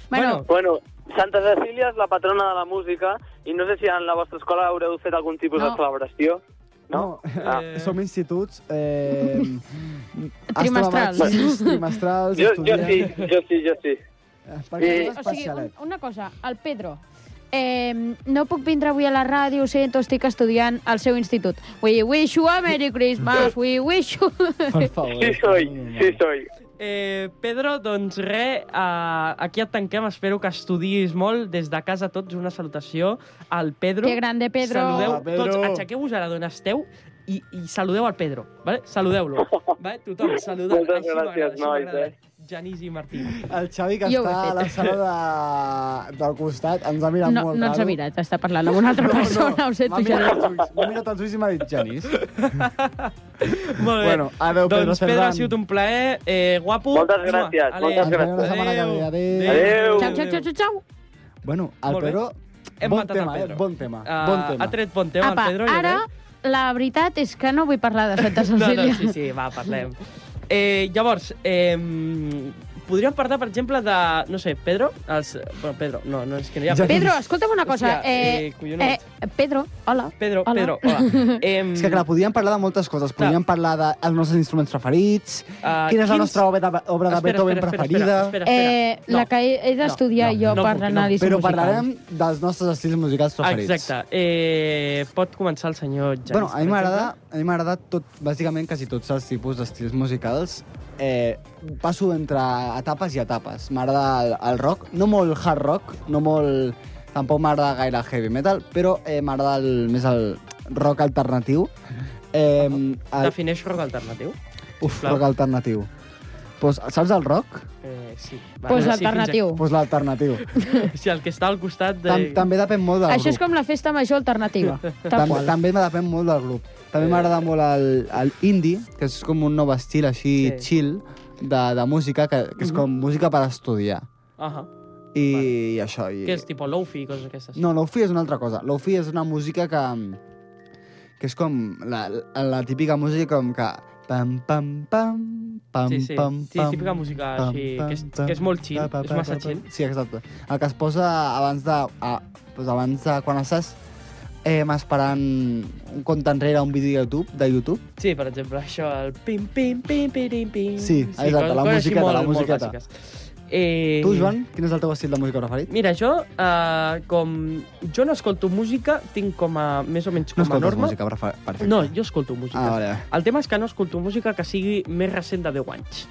S6: Bueno,
S8: Bueno, Santa Cecília és la patrona de la música i no sé si en la vostra escola haureu fet algun tipus
S6: No.
S8: de celebració. No? Ah.
S5: Eh,
S7: Som instituts... Eh,
S6: Trimestrals.
S7: astronomàtics, Trimestrals,
S8: Jo, jo sí, Eh,
S7: estudiants...
S8: jo sí, jo sí.
S7: Perquè
S8: Sí.
S7: és
S6: o sigui, un,
S7: especialet.
S6: una cosa, el Pedro, eh, no puc vindre avui a la ràdio, ho sento, estic estudiant al seu institut. We wish you a Merry Christmas, we wish you...
S7: Per favor.
S8: Sí soy, sí soy.
S5: Eh, Pedro, doncs res, eh, aquí et tanquem. Espero que estudis molt. Des de casa tots una salutació al Pedro.
S6: Que grande, Pedro.
S5: Saludeu
S7: Hola, Pedro.
S5: tots. Aixequeu-vos ara d'on esteu i, i saludeu al Pedro. Vale? Saludeu-lo. Vale? Tothom, saludeu.
S8: Moltes
S5: Així
S8: gràcies,
S5: m'agrada, així
S8: nois,
S5: m'agrada.
S8: eh?
S5: Genís i Martí.
S7: El Xavi, que
S6: Jo ho he
S7: està a
S6: fet.
S7: la sala de, del costat, ens ha mirat
S6: No,
S7: molt
S6: no ens ha
S7: raro.
S6: mirat, està parlant amb una altra persona, ho sento,
S7: M'ha mirat,
S6: Gerard.
S7: els ulls, m'ha mirat els ulls i m'ha dit Genís.
S5: Molt bé.
S7: Bueno, adeu, Pedro
S5: doncs, Pedro,
S7: Cerdán.
S5: ha sigut un plaer. Eh, guapo.
S8: Moltes
S5: Mua,
S8: gràcies,
S5: ale.
S8: moltes
S7: gràcies. Ens veiem la setmana que ve. Adéu.
S8: Adéu.
S6: Chao, chao, chao, chao, chao.
S7: Bueno, el
S5: Molt bé.
S7: Pedro...
S5: Hem
S7: bon
S5: matat el
S7: tema, eh?
S5: Pedro.
S7: Bon tema,
S5: Ah,
S7: bon tema.
S5: Ha tret bon tema
S6: Apa,
S5: el Pedro. ja
S6: ara
S5: veig.
S6: la veritat és que no vull parlar de Santa
S5: No,
S6: Cecília.
S5: no, sí, sí, va, parlem. Eh, llavors, eh, podríem parlar, per exemple, de... No sé, Pedro? Els, bueno, Pedro, no, no, és que no hi ha...
S7: Ja-
S6: Pedro, escolta'm una cosa.
S5: Hòstia, eh,
S6: eh,
S5: collonot.
S6: eh, Pedro, hola.
S5: Pedro,
S6: Hola.
S5: Pedro, hola. Eh,
S7: És que, clar, podíem parlar de moltes coses.
S5: Clar.
S7: Podíem parlar dels de els nostres instruments preferits,
S5: Ah,
S7: quina és la
S5: quins-
S7: nostra obra de, obra de Beethoven preferida...
S5: Espera, espera,
S6: Eh,
S5: no.
S6: La que he, he d'estudiar
S5: no,
S6: jo
S5: no
S6: per
S5: puc, no,
S6: anàlisi
S7: Però
S6: musical.
S7: parlarem dels nostres estils musicals preferits.
S5: Exacte. Eh, pot començar el senyor Janis.
S7: Bueno, a mi
S5: per
S7: m'agrada, a mi m'agrada tot, bàsicament quasi tots els tipus d'estils musicals. Eh, passo entre etapes i etapes. M'agrada el, el rock, no molt hard rock, no molt... Tampoc m'agrada gaire el heavy metal, però eh, m'agrada el- més el rock alternatiu. Eh,
S5: exemple.
S7: el,
S5: Defineix rock alternatiu?
S7: uf,
S5: clar.
S7: rock alternatiu. Pues, saps el rock?
S5: Eh, sí. Vale,
S6: Pues
S5: sí,
S6: alternatiu.
S7: Doncs pues l'alternatiu.
S5: fins a- Sí, el que està al costat de...
S7: Tam, també depèn molt del
S6: Això és
S7: grup.
S6: com la festa major alternativa. Tal
S7: Tam,
S6: qual.
S7: també me depèn molt del grup. També m'agrada molt el, el indie, que és com un nou estil així
S5: Sí. Mhm.
S7: chill de, de música, que, que és com música per estudiar.
S5: Uh -huh.
S7: I,
S5: Vale.
S7: i això. I...
S5: Que és tipus lofi i coses d'aquestes.
S7: No, l'Ofi és una altra cosa. L'Ofi és una música que... mm, que és com la, la, la típica música com que... Pam, pam, pam, pam,
S5: Sí, sí.
S7: pam,
S5: Sí,
S7: pam,
S5: típica música així, que és- que és molt chill, és massa chill.
S7: Sí, exacte. El que es posa abans de... A, doncs abans de quan estàs eh, esperant un compte enrere a un vídeo de YouTube, de YouTube,
S5: Sí, per exemple, això, el pim, pim, pim, pim, pim.
S7: Sí, exacte, la musiqueta, la musiqueta.
S5: Eh,
S7: Tu, Joan, quin és el teu estil de música preferit?
S5: Mira, jo, eh, com... Jo no escolto música, tinc com a... Més o menys com a norma.
S7: música, prefe- perfecte.
S5: No, jo escolto música.
S7: Ah, vale.
S5: El tema és que no escolto música que sigui més recent de 10 anys.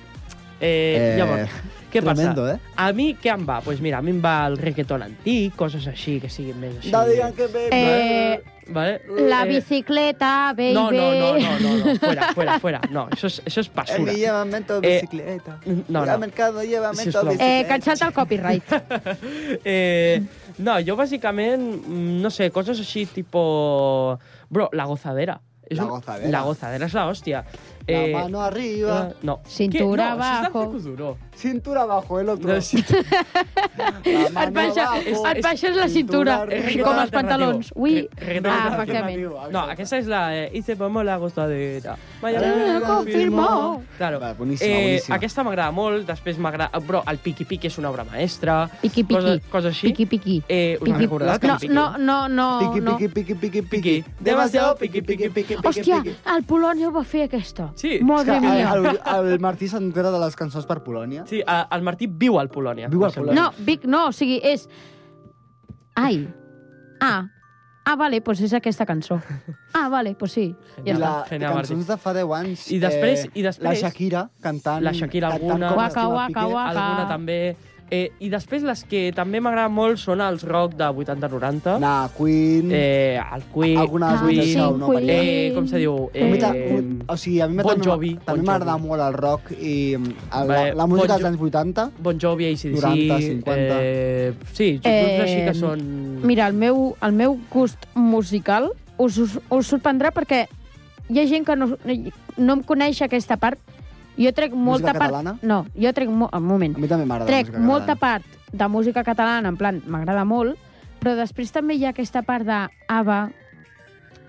S5: Eh, eh, llavors, què
S7: tremendo,
S5: passa?
S7: eh?
S5: A mi què em va? Doncs pues mira, a mi em va el reggaeton antic, coses així que siguin més així.
S7: No digan que me...
S6: Eh,
S5: Vale?
S6: la
S5: Eh,
S6: bicicleta, baby.
S5: No, no, no, no, no, no, fuera, fuera, fuera. No, això és, això és
S7: El
S5: basura.
S7: lleva mento
S5: Eh,
S7: bicicleta.
S5: no,
S7: El
S5: no.
S7: mercado lleva mento
S5: Sisplau. Eh,
S7: bicicleta.
S6: Eh, que et salta el copyright.
S5: Eh, no, jo bàsicament, mm, no sé, coses així tipo... Bro, la gozadera. És
S7: La gozadera.
S5: La gozadera és la hòstia.
S7: La mano arriba,
S5: eh, no.
S6: Cintura
S5: Què? no, això és
S6: abajo.
S5: Dante Kuduro.
S7: cintura abajo, el otro.
S5: No, sí,
S7: La
S6: Et
S7: mano
S6: baixa,
S7: abajo,
S6: et baixes la cintura,
S5: arriba.
S6: com els pantalons. Ui,
S5: Reggaeton
S6: ah,
S5: alternatiu.
S6: efectivament.
S5: no, aquesta és la... Eh, hice pomo la gozadera. Vaya,
S7: Eh,
S5: me
S6: Ah, confirmó.
S5: Claro.
S7: Va, boníssima, boníssima.
S5: Aquesta m'agrada molt, després m'agrada... Bro, el Piqui Piqui és una obra maestra.
S6: Piqui, piqui.
S5: Cosa- Coses així.
S6: Piqui, piqui.
S5: Eh, us
S6: Piqui-
S5: recordeu que
S6: No,
S5: em piqui? eh?
S6: no, no, no.
S7: Piqui,
S6: no.
S7: piqui, piqui, piqui,
S5: Piqui.
S7: piqui. Demasiado piqui, piqui, piqui, piqui,
S6: Hòstia,
S7: piqui.
S6: el Polònia ho va fer, aquesta.
S5: Sí.
S6: Madre
S7: És que eh,
S6: mia.
S7: El, el, el Martí s'entera de les cançons per Polònia.
S5: Sí, eh, el Martí viu al Polònia.
S7: Viu al
S5: em sembla.
S7: Polònia.
S6: No, Vic no, o sigui, és... Ai. A. Ah, vale, doncs és aquesta cançó. Ah, vale, doncs sí. Ja
S7: I la,
S6: està.
S7: i
S5: Genial, Martí.
S7: cançons de fa 10 anys...
S5: I després- i
S7: Eh,
S5: després-
S7: La Shakira cantant...
S5: La Shakira,
S7: cantant
S5: alguna-
S7: com
S6: Waka,
S7: l'estima
S6: waka,
S7: Piqué.
S6: waka.
S5: Alguna també. Eh, I després les que també m'agraden molt són els rock de 80-90.
S7: Na, Queen...
S5: Eh, el Queen.
S7: Alguna
S6: Ah,
S7: de les
S6: sí,
S7: Wings Out, no?
S6: Queen.
S7: Maria?
S5: Eh, com se diu?
S7: A mi ta-
S5: Eh,
S7: o sigui, a mi
S5: Bon
S7: també,
S5: Jovi,
S7: també
S5: Bon
S7: m'agrada
S5: Jovi.
S7: molt el rock i mm, el, la,
S5: Vale,
S7: la música
S5: Bon
S7: dels
S5: Jo-
S7: anys 80.
S5: Bon Jovi, ACDC...
S7: 90, 50.
S5: Eh, sí, grups eh, així que són...
S6: Mira, el meu, el meu gust musical us, us, us sorprendrà perquè hi ha gent que no, no em coneix aquesta part. Jo trec molta part...
S7: catalana?
S6: No, jo trec... Mo... Un moment.
S7: A mi també m'agrada la
S6: Trec
S7: música
S6: molta
S7: catalana.
S6: part de música catalana, en plan, m'agrada molt, però després també hi ha aquesta part de ABBA,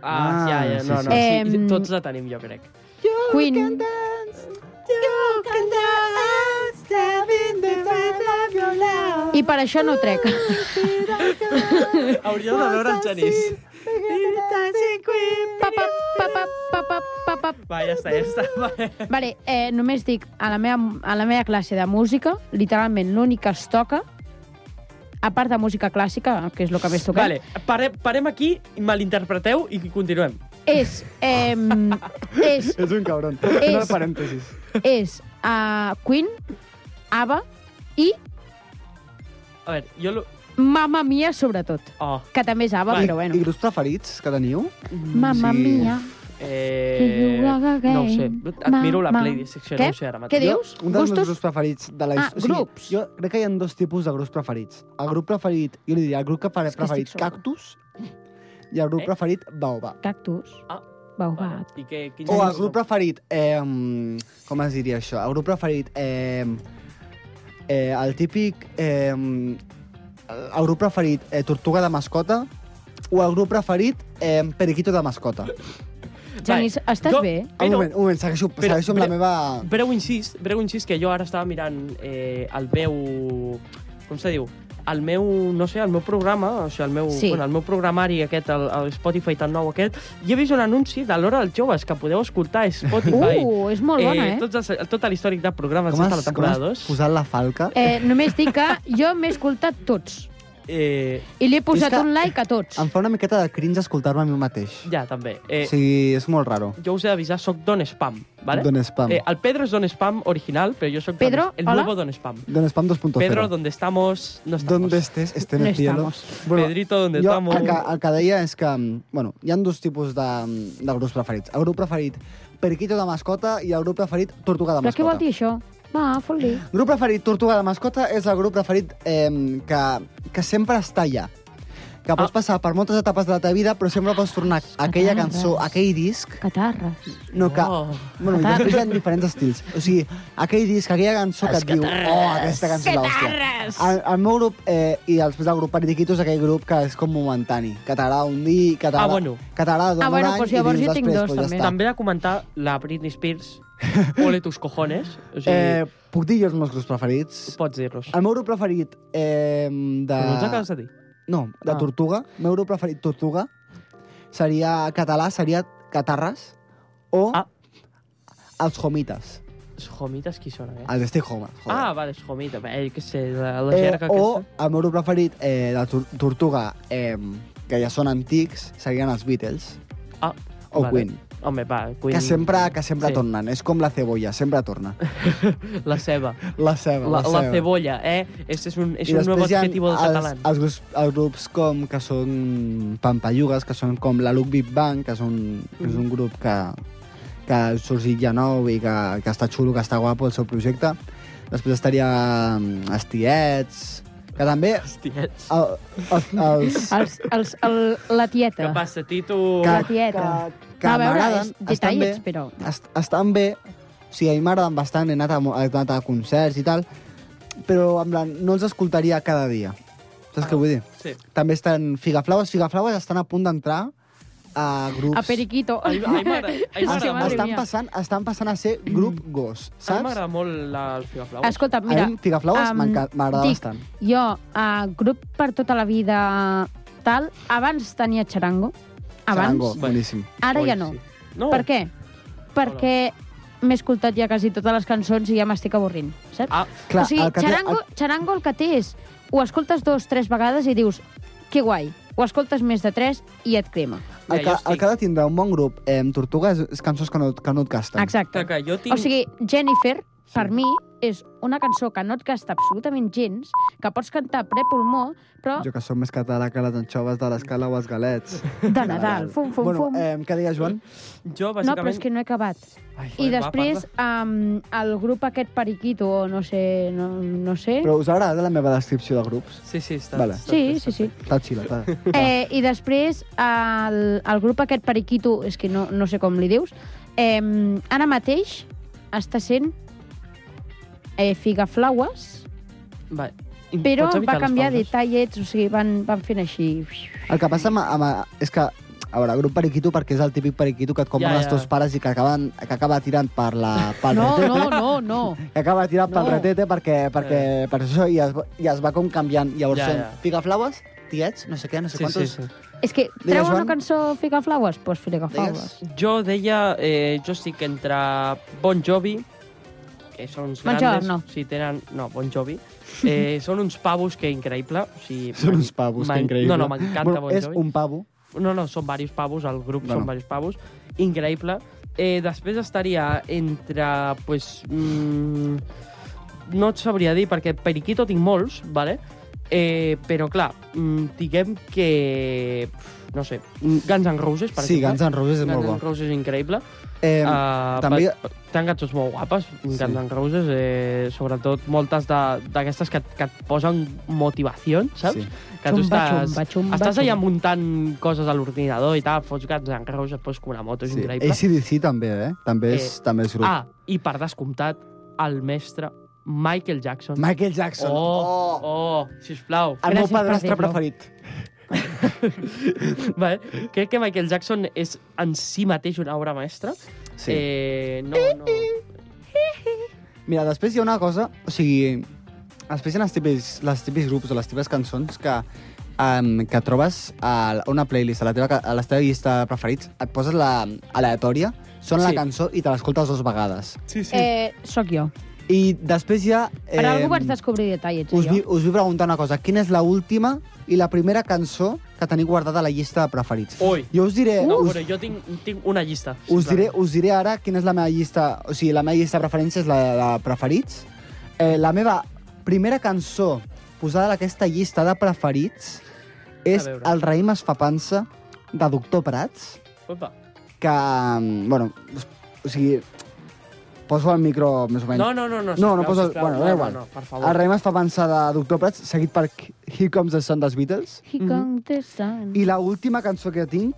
S5: Ah,
S7: Ah,
S5: ja, ja, no,
S7: sí,
S5: no, sí,
S6: sí.
S5: sí,
S6: Em,
S5: tots la tenim, jo crec.
S6: Queen... I per això no ho trec.
S5: Hauríeu de veure el Genís.
S6: Pa, pa, pa, pa, pa, pa, pa, pa,
S5: Va, ja està, ja està. Va.
S6: Vale, eh, només dic, a la, meva, a la meva classe de música, literalment l'únic que es toca, a part de música clàssica, que és el que més toquem,
S5: Vale, pare, parem aquí, malinterpreteu i continuem.
S6: és, eh, és,
S7: És un cabron.
S6: És-
S7: Una parèntesis.
S6: és uh, Queen, ABBA i
S5: A veure, jo... lo-
S6: Mamma Mia, sobretot.
S5: Oh,
S6: Que també és ABBA,
S5: Vale.
S6: però
S7: I
S6: bueno.
S7: grups preferits que teniu?
S6: Mamma
S7: sí.
S6: Mia.
S5: eh... No ho sé, admiro la
S6: Mama.
S5: playlist section,
S6: Què?
S5: no ho sé ara
S6: Què
S5: mateix.
S7: Jo-
S6: dius?
S7: Un dels meus
S6: Gustos?
S7: grups preferits de la
S6: Ah,
S7: història.
S6: grups.
S7: Jo crec que hi ha dos tipus de grups preferits. El grup preferit, jo li diria, el grup que
S6: És
S7: preferit,
S6: que
S7: preferit
S6: estic sorda.
S7: Cactus i el grup
S5: Eh?
S7: preferit Baobab.
S6: Cactus.
S5: Ah.
S6: Baobab.
S5: Vale. I què, quins
S7: O el
S5: són?
S7: grup preferit... Eh, com es diria això? El grup preferit... Eh, eh, el típic... Eh, el grup preferit eh, Tortuga de mascota o el grup preferit eh, Periquito de mascota.
S6: Genís, estàs
S5: Jo-
S6: bé?
S7: un
S5: Però,
S7: moment, un moment, segueixo,
S5: però-
S7: segueixo amb la
S5: però-
S7: meva...
S5: breu incís, breu incís, que jo ara estava mirant eh, el meu... Com se diu? El meu, no sé, el meu programa, o sigui, el meu,
S6: Sí.
S5: bueno, el meu programari aquest, el, el Spotify tan nou aquest, i he vist un anunci de l'Hora dels Joves, que podeu escoltar a Spotify.
S6: Uh, és molt bona, eh?
S5: Tots els, tot l'històric de programes
S7: Com
S5: des de
S7: has,
S5: la
S7: com
S5: temporada
S7: has
S5: 2.
S7: posat la falca?
S6: Eh, només dic que jo m'he escoltat tots.
S5: Eh,
S6: I li he posat
S7: que-
S6: un like a tots.
S7: Em fa una miqueta de cringe escoltar-me a mi mateix.
S5: ja, també.
S7: Eh,
S5: Eh, sí.
S7: sí, és molt raro.
S5: Jo us he d'avisar, soc Don Spam, vale?
S7: Don Spam.
S5: Eh, el Pedro és Don Spam original, però jo soc
S6: Pedro,
S5: Don, el
S6: hola.
S5: nuevo Don Spam.
S7: Don Spam 2.0.
S5: Pedro, donde estamos, no estamos.
S7: ¿Dónde estés? Esté en
S6: No
S7: el cielo.
S6: estamos.
S5: Pedrito, ¿dónde
S7: jo,
S5: estamos?
S7: El que, el que deia és que, mm, bueno, hi han dos tipus de, de grups preferits. El grup preferit Periquito de mascota i el grup preferit Tortuga de
S6: Però
S7: mascota.
S6: què vol dir això? Va, fot-li.
S7: El grup preferit Tortuga de mascota és el grup preferit eh, que, que sempre està allà. Que pots
S6: Ah.
S7: passar per moltes etapes de la teva vida, però sempre pots tornar a aquella
S6: Catarres.
S7: cançó, a aquell disc,
S6: Catarres.
S7: no que...
S5: Oh.
S7: Bueno, i després hi ha diferents estils. O sigui, aquell disc, aquella cançó que et diu... Oh, aquesta cançó és l'hòstia. El, el meu grup eh, i després el grup Periquito és aquell grup que és com momentani, que t'agrada un dia, que t'agrada
S5: Ah, bueno.
S7: que t'agrada durant
S6: Ah, bueno,
S7: un any
S6: doncs llavors
S7: i dius,
S6: jo tinc
S7: després,
S6: dos,
S7: doncs, ja
S6: també.
S7: està.
S5: També ha comentat la Britney Spears, ole tus cojones, o sigui, eh,
S7: Eh, puc dir jo els meus grups preferits?
S5: pots dir-los.
S7: El meu grup preferit eh, de...
S5: Però no els acabes de dir.
S7: No, de
S5: Ah.
S7: Tortuga. El meu grup preferit Tortuga seria català, seria Catarres o
S5: Ah.
S7: els Homites,
S5: Els homites qui són, eh?
S7: els Stay Home. joder.
S5: Ah, vale, els homites, eh, que sé, la, la
S7: Eh,
S5: jerga
S7: o
S5: aquesta.
S7: el meu grup preferit eh, de Tor- Tortuga, eh, que ja són antics, serien els Beatles
S5: Ah,
S7: o
S5: vale.
S7: Queen,
S5: Home, va, Queen.
S7: que sempre, que sempre
S5: Sí.
S7: tornen. És com la cebolla, sempre torna.
S5: La ceba.
S7: La ceba,
S5: La,
S7: la,
S5: la
S7: ceba.
S5: cebolla, eh? Este és un, és
S7: I
S5: un nou
S7: després hi ha
S5: adjetivo del
S7: els,
S5: català.
S7: els, grups, els grups com que són pampallugues, que són com la Look Big Bang, que és un, que
S5: Mm.
S7: és un grup que, que ha sorgit ja nou i que, que està xulo, que està guapo el seu projecte. Després estaria mm, els tiets, que també...
S5: Hostiets.
S6: Ah,
S7: El, els, els,
S6: Els, els, el, la tieta.
S5: Què passa, Tito?
S6: la tieta.
S7: que,
S6: No, a veure,
S7: m'agraden,
S6: és
S7: estan bé,
S6: detallets, però...
S7: est estan bé, o sigui, a mi m'agraden bastant, he anat, a, mo- he anat a concerts i tal, però en plan, no els escoltaria cada dia. Saps
S6: Ah.
S7: què vull dir?
S5: Sí.
S7: També estan Figaflaues. Figaflaues estan a punt d'entrar a grups...
S6: A Periquito.
S5: A mi- a mi m'agrada- a mi
S6: Ah, sí,
S5: m'agrada
S6: madre
S5: molt.
S7: estan,
S6: mia.
S7: passant, estan passant a ser grup gos,
S5: A mi
S7: saps?
S5: m'agrada molt la, el figaflau.
S6: Escolta,
S7: A
S6: mira,
S7: mi Figaflaues
S6: em,
S7: m'enca- m'agrada
S6: dic-
S7: bastant.
S6: jo, a grup per tota la vida tal, abans tenia xarango, abans,
S7: Xarango, boníssim.
S6: ara ja no.
S5: No,
S6: Per què?
S5: Oh.
S6: Perquè m'he escoltat ja quasi totes les cançons i ja m'estic avorrint, saps?
S5: Ah,
S7: Clar,
S6: o sigui,
S7: el que té-
S6: xarango,
S7: el-
S6: xarango el que té és, ho escoltes dos, tres vegades i dius, que guai, ho escoltes més de 3 i et crema.
S5: Ja,
S7: El,
S5: jo
S7: que,
S5: estic.
S7: el que ha de tindre un bon grup eh, amb tortugues és cançons que no, que no et gasten.
S6: Exacte.
S5: Que, que jo tinc...
S6: O sigui, Jennifer, per mi, és una cançó que no et gasta absolutament gens, que pots cantar a ple pulmó, però
S7: Jo que som més català que les anxoves de l'escala o els galets.
S6: de Nadal. Fum, fum,
S7: bueno,
S6: fum.
S7: Eh, què deia Joan?
S5: jo,
S6: no, però
S5: bàsicament...
S6: és que no he acabat.
S5: Ai,
S6: I
S5: va,
S6: després,
S5: parla.
S6: um, el grup aquest Periquito, o no sé... No, no sé.
S7: Però us agrada la meva descripció de grups?
S5: Sí, sí, està...
S7: Vale.
S5: està
S6: Sí,
S5: bé,
S6: sí,
S5: està
S6: sí.
S5: bé.
S7: T'ha xilat. eh?
S6: Eh, I després, el, el grup aquest Periquito, és que no, no sé com li dius, eh, ara mateix està sent eh, Figaflaues,
S5: Va.
S6: però
S5: Pots evitar
S6: va
S5: les
S6: canviar de
S5: pauses?
S6: tallets, o sigui, van, van fent així...
S7: El que passa amb, amb, és que, a veure, grup periquito perquè és el típic periquito que et compren ja,
S5: Ja, ja.
S7: ja. els teus pares i que, acaben, que acaba tirant per la, pel
S6: No,
S7: retete.
S6: no, no, no.
S7: Que acaba tirant
S6: No.
S7: pel retete perquè, perquè per això i es, va- i es va com canviant. Llavors,
S5: Eh. Ja,
S7: ja,
S5: ja.
S7: ja. figaflaues, tiets, no sé què, no sé
S5: Sí, sí,
S7: quantos...
S5: sí.
S6: És que
S7: Digues,
S6: treu una
S7: Joan.
S6: cançó Figaflaues? Doncs pues Figaflaues.
S5: Jo deia, eh, jo estic entre Bon Jovi, que són uns
S6: Bon
S5: grandes...
S6: Giorno.
S5: Sí, tenen... No, Bon Jovi. Eh, són uns pavos que increïble. O sigui,
S7: Són
S5: m'en-
S7: uns pavos, que
S5: m'en-
S7: increïble.
S5: No, no, m'encanta
S7: bueno,
S5: Bon
S7: És
S5: Jovi.
S7: un pavo.
S5: No, no, són diversos pavos, el grup
S7: Bueno.
S5: són diversos pavos. Increïble. Eh, després estaria entre, pues, mm, no et sabria dir, perquè Periquito tinc molts, vale? eh, però clar, mm, diguem que... pf, No sé, Guns N' Roses, per
S7: Sí,
S5: exemple.
S7: Guns N' Roses és
S5: Guns
S7: molt
S5: N'
S7: bo.
S5: Roses és increïble.
S7: Eh,
S5: Uh,
S7: també-
S5: també... Tenen cançons molt guapes, Guns
S7: Sí.
S5: N' Roses, eh, sobretot moltes de- d'aquestes que, et- que et posen motivació, saps?
S7: Sí.
S5: Que tu
S6: Xumba,
S5: estàs,
S6: xumba, xumba,
S5: estàs allà
S6: xumba.
S5: muntant coses a l'ordinador i tal, fots Guns N' Roses, et poses com una moto, és
S7: sí.
S5: increïble.
S7: ACDC també, eh? També és,
S5: Eh,
S7: també és grup.
S5: Ah, i per descomptat, el mestre Michael Jackson.
S7: Michael Jackson.
S5: Oh, oh, sisplau.
S7: El meu
S6: Gràcies per
S7: padrastre
S6: dir-lo.
S7: preferit.
S5: Vale. Crec que Michael Jackson és en si mateix una obra maestra.
S7: Sí.
S5: Eh, no, no.
S7: Mira, després hi ha una cosa, o sigui, després hi ha els típics, les típics grups o les típiques cançons que, um, que trobes a una playlist, a la, teva, ca- a la teva llista de preferits, et poses la aleatòria, sona sí.
S5: Sí.
S7: la cançó i te l'escoltes dues vegades.
S5: Sí,
S6: Sí. Eh, soc jo.
S7: I després ja...
S6: Eh, Però algú vaig descobrir detallets,
S7: us,
S6: jo.
S7: vi, us vull preguntar una cosa. Quina és la última i la primera cançó que teniu guardada a la llista de preferits?
S5: Ui.
S7: Jo us diré...
S5: No,
S7: eh. us,
S5: bueno, jo tinc, tinc una llista.
S7: Us
S5: sisplau.
S7: diré, us diré ara quina és la meva llista... O sigui, la meva llista de preferència és la de preferits. Eh, la meva primera cançó posada en aquesta llista de preferits és
S5: A veure.
S7: El raïm es fa pansa, de Doctor Prats,
S5: Opa.
S7: que, mm, bueno, us- o sigui, poso el micro més o menys.
S5: No, no, no,
S7: No,
S5: no.
S7: no
S5: sisplau,
S7: poso-
S5: sisplau,
S7: bueno, da
S5: no,
S7: igual.
S5: No, no, per favor.
S7: El raïm es fa pansa de Doctor Prats, seguit per Here Comes the Sun dels Beatles.
S6: He come
S5: Mm.
S6: the sun.
S7: I la última cançó que tinc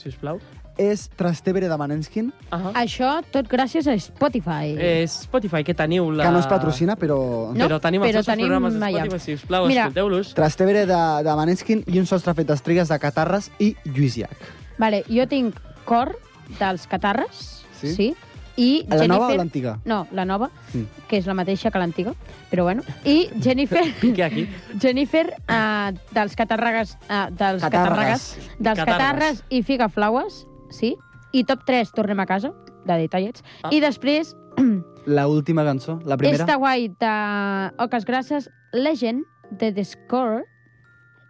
S5: Sisplau.
S7: és Trastevere de Maneskin,
S5: Uh -huh.
S6: Això tot gràcies a Spotify.
S5: eh, Spotify, que teniu la...
S7: que no es patrocina, però...
S6: No,
S5: però tenim els
S6: però
S5: nostres
S6: tenim
S5: programes de
S6: allà.
S5: Spotify, sisplau,
S6: Mira.
S5: escolteu-los.
S7: Trastevere de, de Maneskin i un sostre fet d'estrigues de Catarres i Lluís Llach.
S6: Vale, jo tinc Cor, dels Catarres,
S7: Sí?
S6: sí i
S7: La
S6: Jennifer...
S7: nova o l'antiga?
S6: No, la nova,
S7: Mm.
S6: que és la mateixa que l'antiga, però bueno. I Jennifer,
S5: Pique aquí.
S6: Jennifer uh, dels Catarragues, uh, dels Catarragues, dels
S5: Catarres.
S6: Catarres i Figaflaues, sí. I top 3, tornem a casa, de detallets.
S5: Ah.
S6: I després,
S7: La última cançó, la primera.
S6: Està guai de Oques Grasses, Legend, de The Score,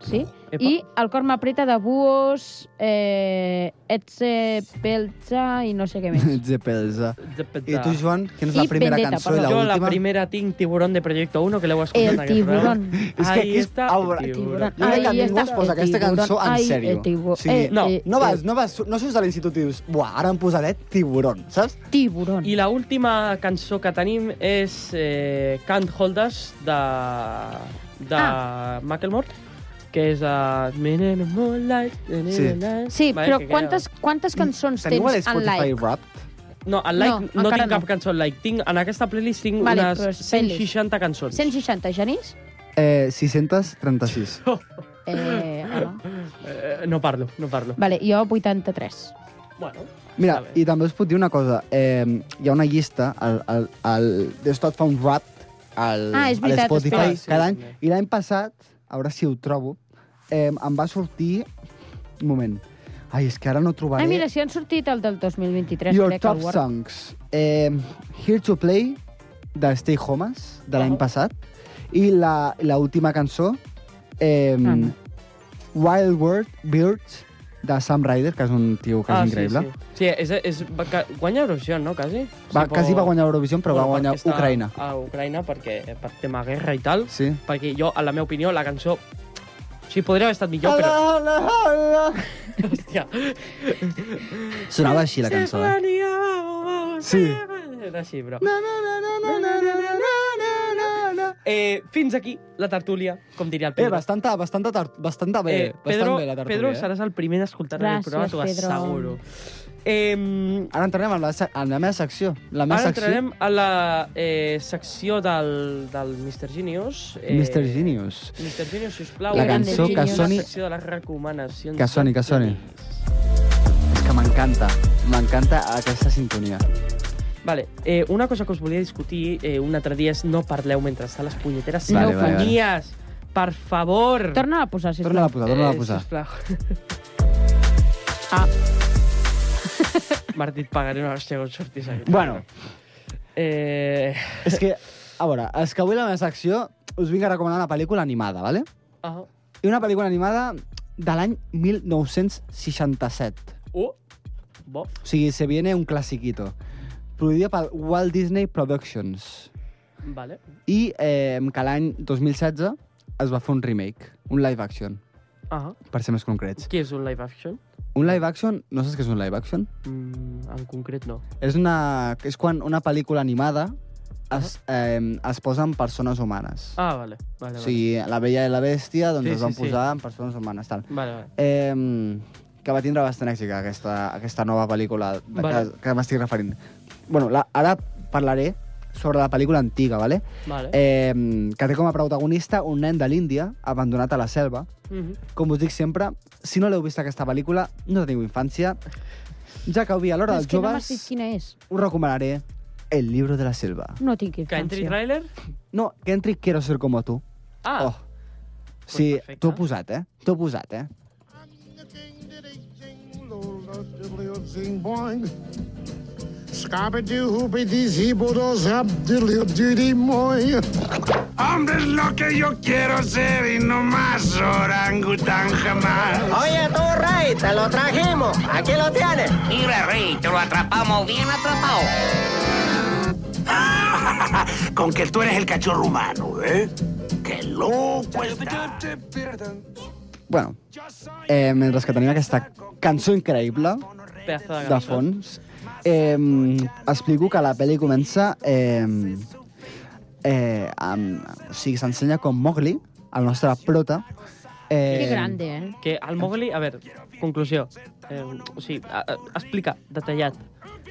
S6: sí?
S5: Epa.
S6: I El cor m'apreta de Buos, eh, Etze, Pelza i no sé què més.
S7: Ets de pelsa.
S5: De
S7: I
S5: petar.
S7: tu, Joan, quina és
S6: I
S7: la primera
S6: Vendetta,
S7: cançó i
S6: perdó.
S7: la
S5: Jo la
S7: última?
S5: primera tinc Tiburón de Proyecto 1, que l'heu escoltat.
S6: El
S5: en aquest programa.
S6: tiburón.
S7: És que aquí
S5: Ahí
S7: és-
S5: està
S7: Ah,
S5: el
S7: bueno,
S5: tiburón.
S7: Jo crec que
S6: Ahí
S7: ningú
S6: està
S7: es posa
S6: el
S7: aquesta cançó
S6: tiburón.
S7: en
S6: Ai,
S7: sèrio.
S6: el tiburó.
S7: O sigui,
S6: Eh,
S7: no,
S5: eh,
S7: no, vas, no, vas, no surts a l'institut i dius buah, ara em posaré tiburon, saps?
S6: Tiburón.
S5: I la última cançó que tenim és eh, Can't Hold Us de, de ah. Macklemore, que és eh, de...
S7: Sí.
S6: Sí,
S5: Vale,
S6: però
S5: que queda-
S6: quantes, quantes cançons
S7: Teniu a
S6: tens en
S7: l'Spotify
S6: like?
S7: Wrapped?
S5: No, en like
S6: No,
S5: no, no
S6: encara
S5: tinc cap
S6: no.
S5: cançó en like. Tinc, en aquesta playlist tinc
S6: Vale,
S5: unes
S6: però és playlist.
S5: 160 cançons.
S6: 160, Genís?
S7: Eh, 636.
S6: Eh,
S5: Mm.
S6: ah, no.
S5: Eh, no parlo, no parlo.
S6: Vale, jo 83.
S5: Bueno,
S7: Mira,
S5: Està bé.
S7: i també us puc dir una cosa. Eh, hi ha una llista, el, el, el The Stop Found Wrapped, al,
S6: Ah, és
S7: a
S6: veritat,
S7: l'Spotify,
S5: espera.
S7: cada
S5: Ah,
S7: any.
S5: sí, també.
S7: I l'any passat, a veure si ho trobo, eh, em va sortir... Un moment. Ai, és que ara no trobaré...
S5: Ah,
S6: Ai, mira, si han sortit el del 2023,
S7: Your
S6: crec,
S7: Top
S6: el Word.
S7: Songs. Eh, Here to Play, de Stay Homes, de l'any
S5: Ah.
S7: passat. I la- l'última cançó... Eh,
S6: Ah, no.
S7: Wild World Birds de Sam Ryder, que és un tio que és increïble.
S5: Ah, Sí, sí. sí és, és, va, ca- guanya Eurovisió, no, quasi?
S7: Va,
S5: Sí, però-
S7: quasi va guanyar Eurovisió, però va
S5: Bueno,
S7: guanyar
S5: perquè està
S7: Ucraïna.
S5: A Ucraïna, perquè per tema guerra i tal.
S7: Sí.
S5: Perquè jo, a la meva opinió, la cançó... Sí, podria haver estat millor,
S7: Hola,
S5: però...
S7: hola, hola.
S5: Hòstia.
S7: Sonava així la cançó, eh?
S5: Stefania, vamos, vamos,
S7: Sí.
S5: Stefania. Era així, bro.
S7: Na, na, na, na, na, na, na, na, na, na, na.
S5: Eh, fins aquí la tertúlia, com diria el
S7: Eh,
S5: Pedro.
S7: bastanta, bastanta, tar- bastanta bé,
S5: Eh,
S7: bastant
S5: Pedro,
S7: bé la tertúlia.
S5: Pedro
S7: eh?
S5: seràs el primer d'escoltar el
S6: Gràcies,
S5: programa, t'ho
S6: Pedro.
S5: asseguro. Eh,
S7: Ara entrarem en la, se- en la meva secció. La meva
S5: Ara
S7: secció...
S5: entrarem a la eh, secció del, del Mr. Genius. Eh,
S7: Mr. Genius.
S5: Mr. Genius, sisplau.
S7: La
S6: Grande
S7: cançó que
S6: Genius.
S7: soni...
S5: La secció de les recomanacions.
S7: Que soni, que soni. És que m'encanta. M'encanta aquesta sintonia.
S5: Vale, eh, una cosa que us volia discutir eh, un altre dia és no parleu mentre estan les punyeteres
S7: Vale, vale,
S5: sinfonies. Per favor.
S6: Torna a posar, sisplau.
S7: Torna-la a posar, torna-la a
S5: Eh,
S7: posar.
S5: sisplau.
S6: Ah.
S5: Martí, et pagaré una hòstia quan sortis aquí.
S7: Bueno,
S5: Eh...
S7: és que... A veure, és que avui la meva secció us vinc a recomanar una pel·lícula animada, ¿vale?
S5: Ah,
S7: I una pel·lícula animada de l'any 1967.
S5: oh, bo.
S7: O sigui, se viene un classiquito. Produïda pel Walt Disney Productions.
S5: Vale.
S7: I eh, que l'any 2016 es va fer un remake, un live action,
S5: Ah,
S7: per ser més concrets.
S5: què és un live action?
S7: Un live action, no saps què és un live action?
S5: Mm, en concret no.
S7: És, una, és quan una pel·lícula animada es, eh, es posa en persones humanes.
S5: Ah, vale.
S7: o
S5: vale, vale.
S7: sigui, la Bella i la Bèstia doncs,
S5: Sí,
S7: sí, es van
S5: sí, sí.
S7: posar sí. en persones humanes. Tal.
S5: Vale, vale.
S7: Eh, que va tindre bastant èxit aquesta, aquesta nova pel·lícula de, vale.
S5: Vale.
S7: que, que m'estic referint. Bueno, la, ara parlaré sobre la pel·lícula antiga, ¿vale?
S5: vale. Eh.
S7: eh, que té com a protagonista un nen de l'Índia abandonat a la selva.
S5: Mm
S7: Com us dic sempre, si no l'heu vist aquesta pel·lícula, no teniu infància, ja que avui a l'hora
S6: Però és
S7: dels
S6: que no m'has dit
S7: joves...
S6: quina és.
S7: us recomanaré El libro de la selva.
S6: No tinc
S5: Que entri
S6: infància.
S5: trailer?
S7: No, que entri Quiero ser como tu.
S5: Ah, pues
S7: Oh. Sí,
S5: perfecte.
S7: t'ho he posat, eh? T'ho he posat, eh?
S9: Hombre, es lo que yo quiero ser y no más orangután jamás.
S10: Oye tú, Rey, te lo trajimos. Aquí lo tienes.
S9: Mira, Rey, te lo atrapamos bien atrapado. Con que tú eres el cachorro humano, ¿eh? ¡Qué loco está!
S7: Bueno, eh, mentre que tenim aquesta cançó increïble
S5: pedazo de,
S7: de
S5: cançó.
S7: fons, eh, explico que la pel·li comença... Eh, eh, amb, o sigui, s'ensenya com Mowgli, el nostre prota, eh,
S6: Que grande, eh?
S5: Que al Mowgli, a veure, conclusió. Eh, o sigui, a, a, explica, detallat.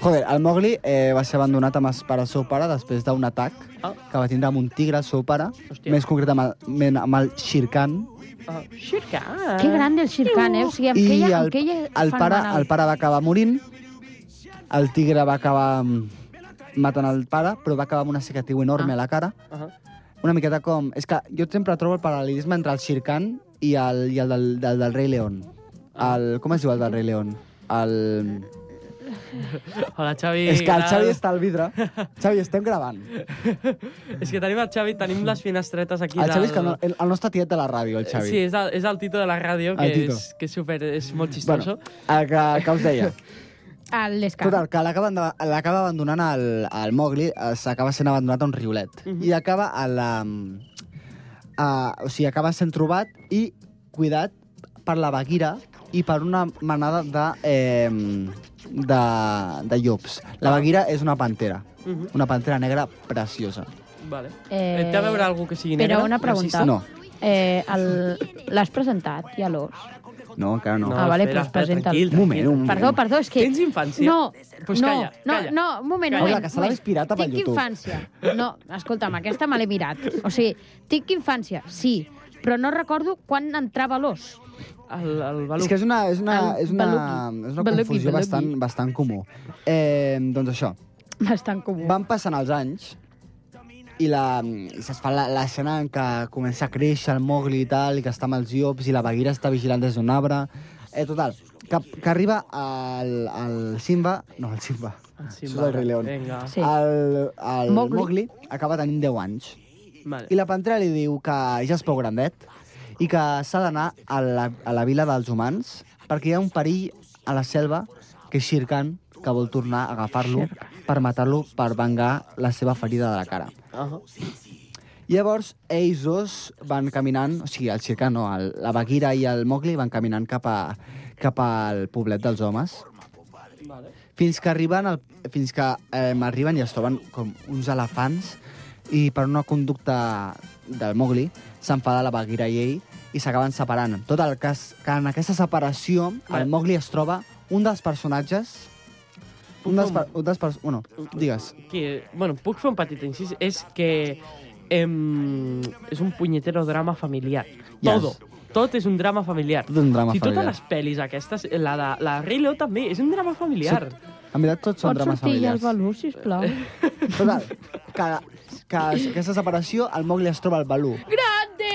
S7: Joder, el Mowgli eh, va ser abandonat amb els, per el seu pare després d'un atac
S5: Ah.
S7: que va tindre amb un tigre, el seu pare,
S5: Hòstia.
S7: Hòstia. més concretament amb el Shere Khan.
S5: Ah, Shirka.
S6: Que grande el Shirkan, eh? O sigui, amb
S7: I
S6: aquella,
S7: el,
S6: amb aquella
S7: el,
S6: fan
S7: pare,
S6: mal.
S7: el pare va acabar morint, el tigre va acabar mm, matant el pare, però va acabar amb una cicatriu enorme
S6: Ah.
S7: a la cara.
S5: Ah,
S7: Una miqueta com... És que jo sempre trobo el paral·lelisme entre el Shere Khan i el, i el del, del, del rei León.
S6: Ah.
S7: El, com es diu el del rei León? El...
S5: Hola, Xavi.
S7: és que el
S5: grau.
S7: Xavi està al vidre. Xavi, estem gravant.
S5: És que tenim el Xavi, tenim les finestretes aquí.
S7: El Xavi és
S5: del-
S7: que el, el, el nostre tiet de la ràdio, el Xavi.
S5: Sí, és el, és el Tito de la ràdio,
S7: El
S5: que
S7: Tito.
S5: és, que és, super, és molt
S7: Bueno,
S5: xistoso.
S7: el que, que us deia.
S6: El Lescan.
S7: Total, que l'acaba anda- l'acaba abandonant el, el Mowgli, eh, s'acaba sent abandonat a un riulet.
S5: Mhm.
S7: I acaba a la... A, o sigui, acaba sent trobat i cuidat per la Bagheera i per una manada de, eh, de, de llops. La Bagheera és una pantera,
S5: Bueno. Uh
S7: una pantera negra preciosa.
S5: -huh. Vale.
S6: Eh,
S5: Eh, Té a veure algú que sigui negre?
S6: Però una pregunta.
S5: racista?
S7: No,
S6: Eh, el- L'has presentat, ja l'os?
S7: no, encara no.
S6: Ah, vale, però es
S5: espera,
S6: presenta
S5: Tranquil,
S6: el-
S7: Un moment, un moment.
S6: Perdó, perdó, és que...
S5: Tens infància?
S6: No,
S5: Pues
S6: no,
S5: calla,
S6: no,
S5: calla.
S6: no, un moment,
S5: Calla.
S6: un
S7: Hola,
S6: moment.
S7: que se l'ha vist pirata per
S6: tinc
S7: YouTube.
S6: infància. No, escolta'm, aquesta me l'he mirat. O sigui, tinc infància, sí, però no recordo quan entrava l'os.
S5: El, el Balú.
S7: És que és una, és una,
S6: El
S7: és una,
S6: Baluki.
S7: és una
S6: Baluki,
S7: confusió
S6: Baluki.
S7: bastant, bastant comú. Eh, doncs això,
S6: Bastant comú.
S7: van passant els anys i, la, i se'ns fa la- l'escena en què comença a créixer el Mowgli i tal, i que està amb els llops, i la Bagheera està vigilant des d'un arbre... Eh, total, que, que arriba al, al Simba... No, al Simba.
S5: Ah, sí,
S7: Això és
S5: vale.
S7: el Rei León.
S5: Vinga.
S6: Sí.
S7: El, el
S6: Mowgli.
S7: Mowgli acaba tenint 10 anys.
S5: Vale.
S7: I la pantera li diu que ja és prou grandet i que s'ha d'anar a, la, a la vila dels humans perquè hi ha un perill a la selva que és Shere Khan, que vol tornar a agafar-lo per matar-lo per vengar la seva ferida de la cara.
S5: Uh -huh.
S7: Llavors, ells dos van caminant, o sigui, el Shere Khan, no, el, la Bagheera i el Mowgli van caminant cap, a, cap al poblet dels homes
S5: Vale.
S7: fins que arriben, al, fins que eh, arriben i es troben com uns elefants i per una conducta del Mowgli s'enfada la Bagheera i ell i s'acaben separant. Tot el cas que en aquesta separació
S5: Vale.
S7: el Mowgli es troba un dels personatges
S5: Puc
S7: un dels,
S5: fer
S7: per, un dels per, bueno, digues.
S5: que, bueno, puc fer un petit incís, és que em, és un punyetero drama familiar.
S7: Yes.
S5: Todo. Tot és un drama familiar.
S7: Tot un drama
S5: si totes
S7: familiar.
S5: les pel·lis aquestes, la, de, la Rei Leó també, és un drama familiar. Sí.
S7: En veritat, tots són
S6: Pot
S7: drames
S6: sortir ja el
S7: familiars.
S6: Balú, sisplau?
S7: Total, que, que aquesta separació, el Mowgli es troba al Balú.
S6: Grande!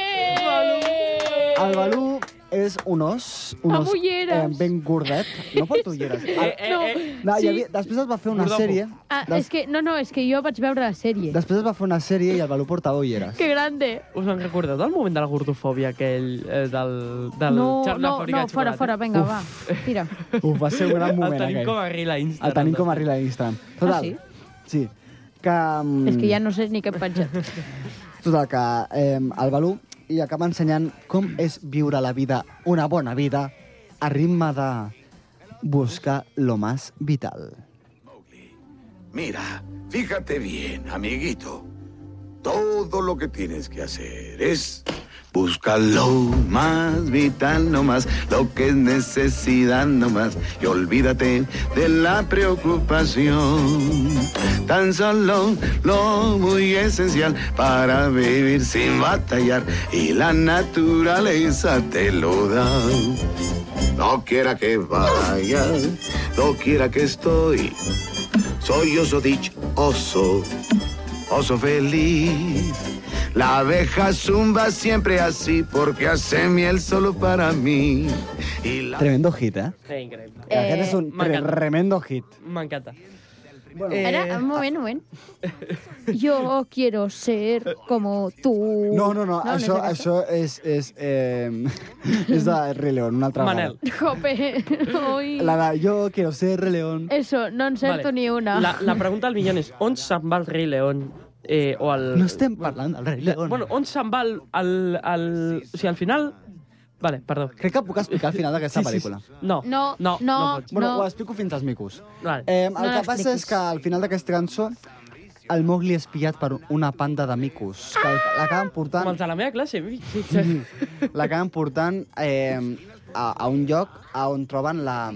S7: El Balú és un os, un
S6: Amb
S7: os eh,
S6: ulleres.
S7: ben gordet. No porta ulleres.
S5: Eh,
S7: El,
S5: eh,
S6: No.
S5: eh,
S7: Ah, no,
S6: sí.
S7: sí. havia, després es va fer una
S5: Gordofo.
S7: sèrie...
S6: Ah,
S7: des,
S6: és que, no, no, és que jo vaig veure la sèrie.
S7: Després es va fer una sèrie i el Balú portava ulleres.
S6: Que grande!
S5: us en recordeu del moment de la gordofòbia aquell eh, del, del
S6: No,
S5: Charlie
S6: no,
S5: Fàbrica
S6: no,
S5: de
S6: fora,
S5: Xocolata?
S6: fora, vinga, va. Tira.
S7: Uf, va ser un gran moment,
S5: el tenim
S7: aquell.
S5: com a reel a Instagram. eh?
S7: El tenim com a reel a Instagram. Total,
S6: Ah, sí?
S7: Sí. Que, mm,
S6: És que ja no sé ni què he penjat.
S7: Total, que eh, el Balú li acaba ensenyant com és viure la vida, una bona vida, a ritme de buscar lo más vital.
S11: Mira, fíjate bien, amiguito. Todo lo que tienes que hacer es buscar lo más vital nomás, lo que es necesidad nomás, y olvídate de la preocupación. Tan solo lo muy esencial para vivir sin batallar, y la naturaleza te lo da. No quiera que vaya, no quiera que estoy. Soy oso dichoso, oso feliz. La abeja zumba siempre así porque hace miel solo para mí. Y la...
S7: Tremendo hit, eh?
S5: Eh, increïble.
S7: eh Aquest és un tre-
S5: m'encanta.
S7: tremendo hit.
S5: M'encanta.
S7: eh,
S6: Ara,
S7: ah.
S6: un moment, un moment. Yo quiero ser como tú.
S7: No, no, no,
S6: és
S7: això,
S6: aquesta?
S7: això és, és, eh, és de Rei León, una altra
S5: Manel.
S6: Jope, oi.
S7: vegada. La de jo quiero ser Rei León.
S5: Eh,
S6: Eso, no encerto ni una.
S5: La, la pregunta del millón és on se'n va el rei León? Eh, o el...
S7: No estem parlant del Rei León.
S5: Bueno, on se'n va el, el, el... O sigui, al final... Vale, perdó.
S7: Crec que puc explicar al final d'aquesta
S5: Sí, sí,
S7: pel·lícula.
S5: No,
S6: No,
S5: no,
S6: no.
S5: no pots.
S7: Bueno,
S6: No.
S7: ho explico fins als micos.
S5: Vale.
S7: Eh, el
S6: No
S7: que passa
S6: l'expliquis.
S7: és que al final d'aquesta cançó el Mowgli és pillat per una panda de micos que el- l'acaben
S5: Com
S7: portant,
S5: els de la meva classe.
S7: Mm,
S5: fixa't.
S7: l'acaben portant eh, a, a un lloc a on troben la...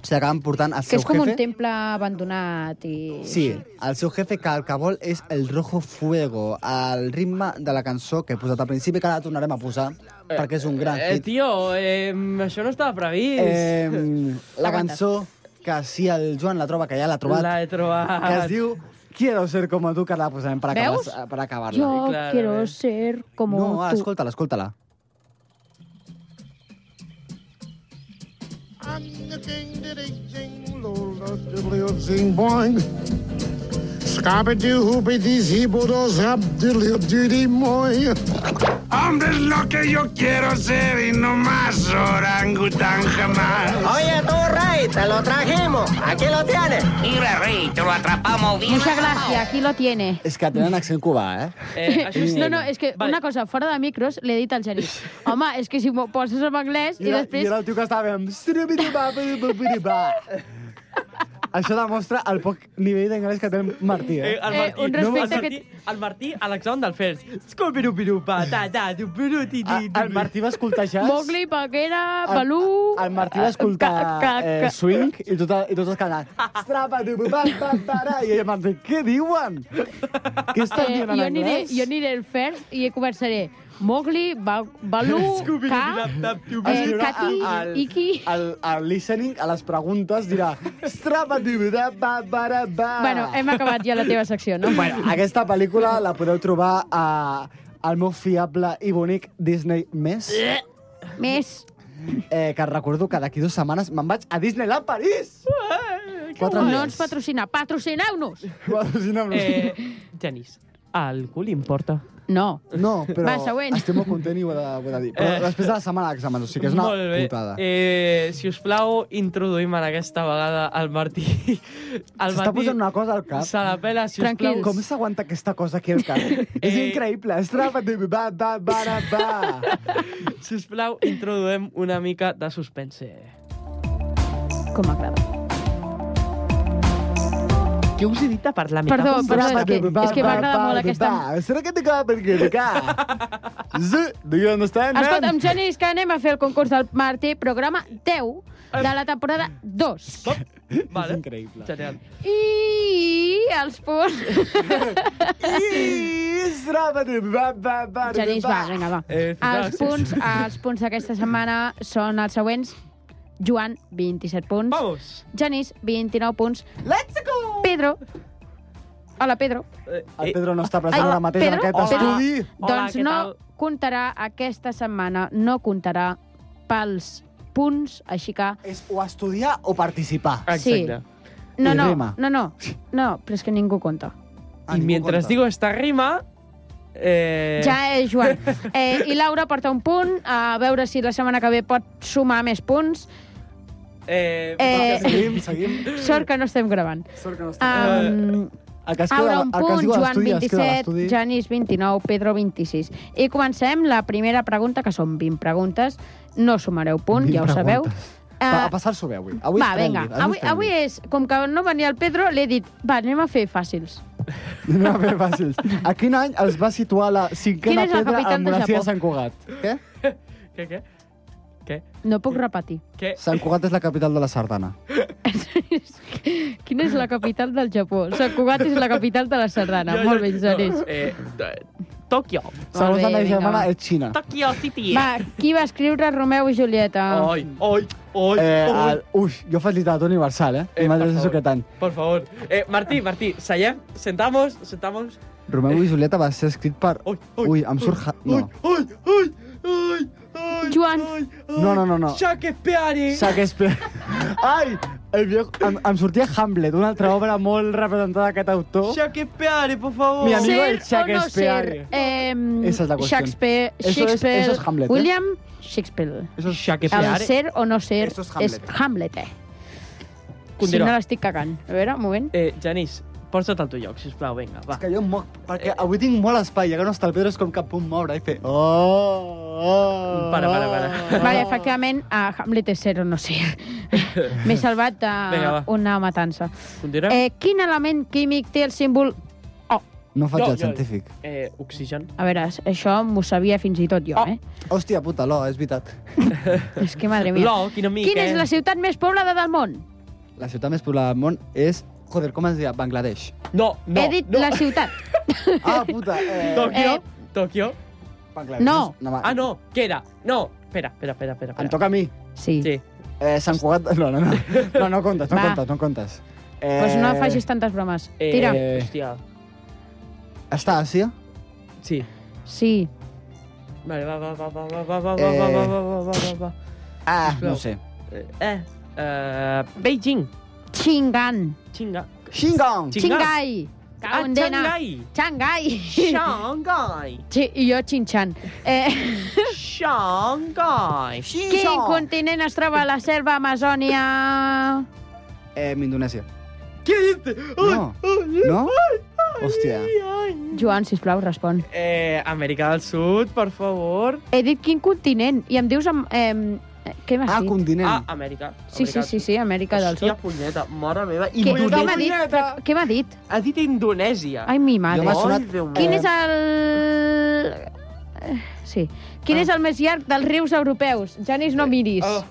S7: O sigui, acaben portant el
S6: que
S7: seu
S6: és com
S7: jefe.
S6: un temple abandonat i...
S7: Sí, el seu jefe que el que vol és el rojo fuego, el ritme de la cançó que he posat al principi, que ara la tornarem a posar, perquè és un gran
S5: Eh,
S7: hit.
S5: tio, eh, això no estava previst.
S7: Eh, la cançó que si el Joan la troba, que ja l'ha trobat,
S5: La he trobat.
S7: que es diu Quiero ser como tú, que la posarem per
S6: Veus?
S7: acabar-la. Per acabar
S6: Yo
S5: Clar, a
S6: quiero
S5: veure.
S6: ser como
S7: eh. no, ah,
S6: tú.
S7: escolta-la, escolta-la.
S11: Zing boing. Scabby doo hoopy dee zibo dos hab dilly duty moy. Hombre es lo que yo quiero ser y no más orangután jamás.
S12: Oye, tú, Rey, te lo trajimos. Aquí lo tienes.
S2: Mira, Rey, te lo atrapamos bien.
S6: Muchas gracias, aquí lo tiene.
S7: És que tenen accent cubà, eh?
S5: Eh, això és
S6: No,
S5: tema.
S6: no, és que
S5: Vale.
S6: una cosa, fora de micros, l'he dit al Genís. Home, és que si m'ho poses en anglès i,
S7: I era,
S6: després...
S7: I era el tio que estava amb... "Srubidibabidibabidibà". Això demostra el poc nivell d'anglès que té el Martí, eh?
S5: Eh, el
S6: Eh,
S5: Martí,
S6: un respecte
S5: el Martí, El Martí a l'examen del Fers. Scopirupirupa, ta, ta, tu, piru, ti,
S7: Ah,
S5: ti, ti,
S7: el Martí va escoltar jazz.
S6: Mowgli, Bagheera, Balú...
S7: El, el Martí va escoltar
S6: Ca, ca,
S7: eh,
S6: ca.
S7: swing i tot, i tots els canants. Strapa, tu, pa, pa, para. I el Martí, què diuen? Què estan
S6: Eh,
S7: dient en
S6: jo, aniré,
S7: anglès?
S6: jo aniré el first i començaré Mowgli, ba Balú, Ka, eh,
S7: Escriurà
S6: Katy,
S7: al-
S6: Iki...
S7: al, al listening, a les preguntes, dirà... Strapa, tu, pa, pa, para, pa.
S6: Bueno, hem acabat ja la teva secció, no?
S7: Bueno, aquesta pel·lícula la podeu trobar a al meu fiable i bonic Disney Més,
S6: Més.
S7: eh, que recordo que d'aquí dues setmanes me'n vaig a Disneyland París! Quatre
S6: No ens patrocina. Patrocineu-nos! Eh,
S7: Patrocineu-nos.
S5: Eh, Genís, a algú li importa?
S6: No.
S7: No, però
S6: Va, següent.
S7: estic molt content i ho he de, ho he de dir. Però
S5: Eh.
S7: després de la setmana d'exàmens, o sigui que és una
S5: Molt bé.
S7: putada.
S5: Eh, si us plau, introduïm en aquesta vegada el Martí. El
S7: S'està posant una cosa al cap.
S5: Se la pela, si us plau.
S7: Com s'aguanta aquesta cosa aquí al cap? És
S5: Eh.
S7: increïble. Estrapa, de- va, va, va, va, va.
S5: Si us plau, introduïm una mica de suspense.
S6: Com m'agrada.
S5: Què us he dit de parlar? Me
S6: Perdó,
S5: cago en
S6: perdó,
S5: Déu.
S6: és que, és que m'agrada molt aquesta...
S7: Serà que te cap perquè te cap. Sí, do you understand, man?
S6: Escolta'm, Genís, que anem a fer el concurs del Martí, programa 10 de la temporada 2.
S5: Vale.
S7: Increïble.
S5: Genial.
S6: I els punts...
S7: Estrapa, de- va, va, va,
S6: Genís, va, vinga, va.
S5: Eh,
S6: Els punts, els punts d'aquesta setmana són els següents. Joan, 27 punts.
S5: Vamos.
S6: Genís, 29 punts. Let's go! Pedro. Hola, Pedro.
S5: Eh,
S7: El
S5: eh,
S7: Pedro no està present
S6: Ai,
S7: ara mateix en
S6: Pedro,
S7: aquest
S5: hola.
S7: estudi.
S5: Hola,
S6: doncs
S5: què
S6: no
S5: tal?
S6: comptarà aquesta setmana, no comptarà pels punts, així que...
S7: És o estudiar o participar.
S5: Exacte.
S6: No,
S7: I
S6: no,
S7: rima.
S6: no, no, no, però és que ningú compta.
S7: Ah,
S5: Y
S7: ningú
S5: mientras
S7: compta.
S5: digo esta rima... Eh,
S6: Ja és Joan. Eh, I Laura porta un punt, a veure si la setmana que ve pot sumar més punts.
S5: eh,
S6: Eh,
S7: Seguim, seguim.
S6: sort que no estem gravant.
S7: Sort que no està.
S6: Um,
S7: El Eh, que es queda-
S6: Aura un
S7: el que es
S6: punt,
S7: diu a
S6: Joan
S7: l'estudi, es queda a
S6: 27,
S7: l'estudi.
S6: Janis 29, Pedro 26. I comencem la primera pregunta, que són 20 preguntes. No sumareu punt,
S7: 20
S6: ja ho sabeu.
S7: preguntes.
S6: Eh,
S7: Va, a passar-s'ho bé, avui. avui
S6: va,
S7: és
S6: vinga.
S7: friendly,
S6: Avui,
S7: és
S6: avui
S7: friendly.
S6: és, com que no venia el Pedro, l'he dit, va, anem a fer fàcils.
S7: No, bé, fàcils. A quin any es va situar la cinquena
S6: Quina és la
S7: pedra
S6: capital
S7: a
S6: de
S7: Monastir de
S6: Japó?
S7: Sant Cugat? Què?
S5: ¿Qué, qué? ¿Qué?
S6: No puc repetir.
S5: ¿Qué?
S7: Sant Cugat és la capital de la Sardana.
S6: Quina és la capital del Japó? Sant Cugat és la capital de la Serrana.
S5: Yo-
S6: Molt
S5: yo-
S6: bé,
S5: no,
S6: Janis.
S5: eh, eh, Tokio.
S7: Segons
S6: bé,
S7: la meva
S6: vinga,
S7: germana,
S6: va.
S7: és Xina.
S5: Tokio City.
S6: Va, qui va escriure Romeu i Julieta?
S5: Hoy, hoy, hoy,
S7: Ah. Eh,
S5: hoy.
S7: el, ui, jo faig literatura universal, eh?
S5: Eh,
S7: eh
S5: per
S7: M'agrada això
S5: favor.
S7: que tant.
S5: Por favor. Eh, Martí, Martí, Sayem, sentamos, sentamos. Eh.
S7: Romeu i Julieta va ser escrit per...
S5: Uy, uy,
S7: Ui, em surt... Ja-
S5: uy,
S7: No.
S5: uy, uy, uy, uy,
S6: Joan.
S5: uy, uy.
S7: No, no, no, no.
S5: Shakespeare.
S7: Shakespeare. Ai! El viejo... Em, em sortia Hamlet, una altra obra molt representada d'aquest autor.
S5: Shakespeare, por favor.
S7: Mi amigo
S6: Ser
S7: el Shakespeare.
S6: o no ser? Eh,
S7: Esa es la cuestión.
S6: Shakespeare,
S7: Eso es-
S6: Shakespeare,
S7: eso es Hamlet, ¿eh?
S6: William Shakespeare.
S7: Eso es
S6: El
S5: Shakespeare.
S6: ser o no ser
S7: Eso es
S6: és
S7: Hamlet.
S6: Hamlet, eh? Si
S5: Continua.
S6: no l'estic cagant. A veure, un moment.
S5: Eh, Janís, posa't al teu lloc, sisplau, vinga, va.
S7: És que jo em moc, perquè avui tinc molt espai, ja que no està el Pedro, és com que puc moure i fer... Oh, oh,
S5: Para, para, para.
S7: oh.
S6: Vale, efectivament, a Hamlet és ser o no ser. M'he salvat
S5: Vinga, va.
S6: d'una matança.
S5: Continuem?
S6: Eh, quin element químic té el símbol...
S7: No faig
S5: Jo,
S7: el
S5: jo.
S7: científic.
S5: Eh, oxigen.
S6: A veure, això m'ho sabia fins i tot jo,
S5: Oh.
S6: eh?
S7: Hòstia puta, l'O, és veritat.
S6: És que, madre mia.
S5: Lo, quina mica,
S6: Quina és la ciutat més poblada del món?
S7: La ciutat més poblada del món és... Joder, com es deia? Bangladesh.
S5: No, no,
S6: He dit
S5: no.
S6: la ciutat.
S7: Ah, puta. Eh,
S5: Tòquio,
S6: Eh.
S5: Tòquio.
S7: Bangladesh.
S6: No.
S7: va.
S5: Ah, no, què era? No, espera, espera, espera, espera.
S7: Em
S5: espera.
S7: toca a mi.
S6: Sí.
S5: Sí.
S7: Eh, Sant Cugat... No, no, no. No, no comptes, no
S6: Va.
S7: comptes, no comptes. Eh,
S6: Doncs no facis tantes bromes.
S5: Eh,
S6: Tira.
S5: Hòstia,
S7: Està a Àsia?
S5: sí.
S6: Sí.
S5: Vale, va, va, va, va, va, va, va, va,
S7: Eh.
S5: va, va, va, va, va, va.
S7: Ah,
S5: Sisplau. Eh, eh, eh, Beijing,
S6: Xingan.
S5: Xinga.
S7: Xingong!
S5: Xi-
S6: Xingai.
S5: Ah,
S6: Xangai.
S5: Xangai.
S6: Xangai.
S5: Xangai.
S6: Sí, I jo xinxant. Eh,
S5: Xangai.
S6: quin continent es troba a la selva amazònia?
S7: Eh, Indonèsia.
S5: Què dite?
S7: No. No? Hòstia.
S6: Joan, sisplau, respon.
S5: Eh, Amèrica del Sud, per favor.
S6: He dit quin continent i em dius... Amb, eh, què m'has
S7: Ah,
S6: dit?
S7: continent.
S5: Ah, Amèrica.
S6: Sí, sí, sí, sí, Amèrica del
S5: Hòstia,
S6: Sud.
S5: punyeta, mare meva.
S6: Què, què m'ha
S5: Indonèsia.
S6: dit? Però Què m'ha dit?
S5: Ha dit Indonèsia.
S6: Ai, mi
S7: Jo
S6: mare.
S7: m'ha sonat...
S5: Déu meu.
S6: Quin és el... eh, Sí. Quin
S7: Ah.
S6: és el més llarg dels rius europeus? Janis, no miris.
S5: Oh.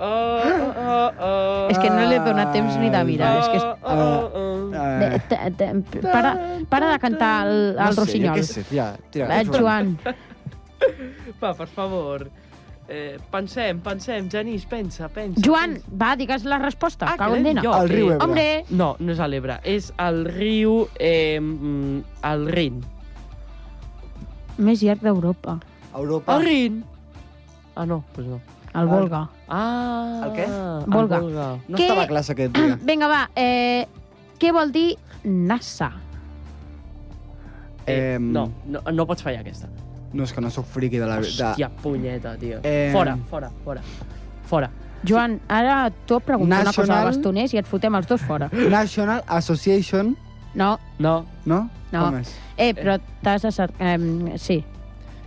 S5: Oh, oh, oh, oh.
S6: És que no li he donat temps ni de mirar. És que és...
S5: Oh, oh, oh.
S6: Eh,
S7: Ah. Eh,
S6: te- te- Para, para de cantar el, el
S7: no sé,
S6: rossinyol.
S7: jo què sé, tia, tira,
S6: Va, Joan.
S5: Va, per favor. Eh, pensem, pensem, Genís, pensa, pensa.
S6: Joan,
S5: pensa.
S6: va, digues la resposta.
S5: Ah, que
S6: Cago en
S5: l'he dit
S6: dena.
S5: jo.
S7: El riu
S5: Eh,
S7: Ebre.
S6: Hombre,
S5: No, no és a l'Ebre, és el riu... Eh, mm, el Rin.
S6: més llarg d'Europa.
S7: Europa.
S5: El Rin! Ah, no, doncs no.
S6: El Volga.
S5: Ah!
S7: El què?
S6: Volga.
S5: El Volga.
S7: No
S6: Què?
S7: estava a classe aquest dia.
S6: Vinga, va. Eh, què vol dir NASA?
S5: Eh,
S7: Em, Ah.
S5: no, no, no pots fallar aquesta.
S7: No, és que no sóc friqui de la
S5: Hòstia,
S7: veritat.
S5: punyeta, tio.
S7: Em,
S5: Fora, fora, fora. Fora.
S6: Joan, ara tu et pregunto una cosa de
S7: National-
S6: bastoners i et fotem els dos fora.
S7: National Association,
S6: No,
S5: No.
S7: no?
S6: No.
S7: Com és?
S6: eh, però t'has de... cer- Eh, sí.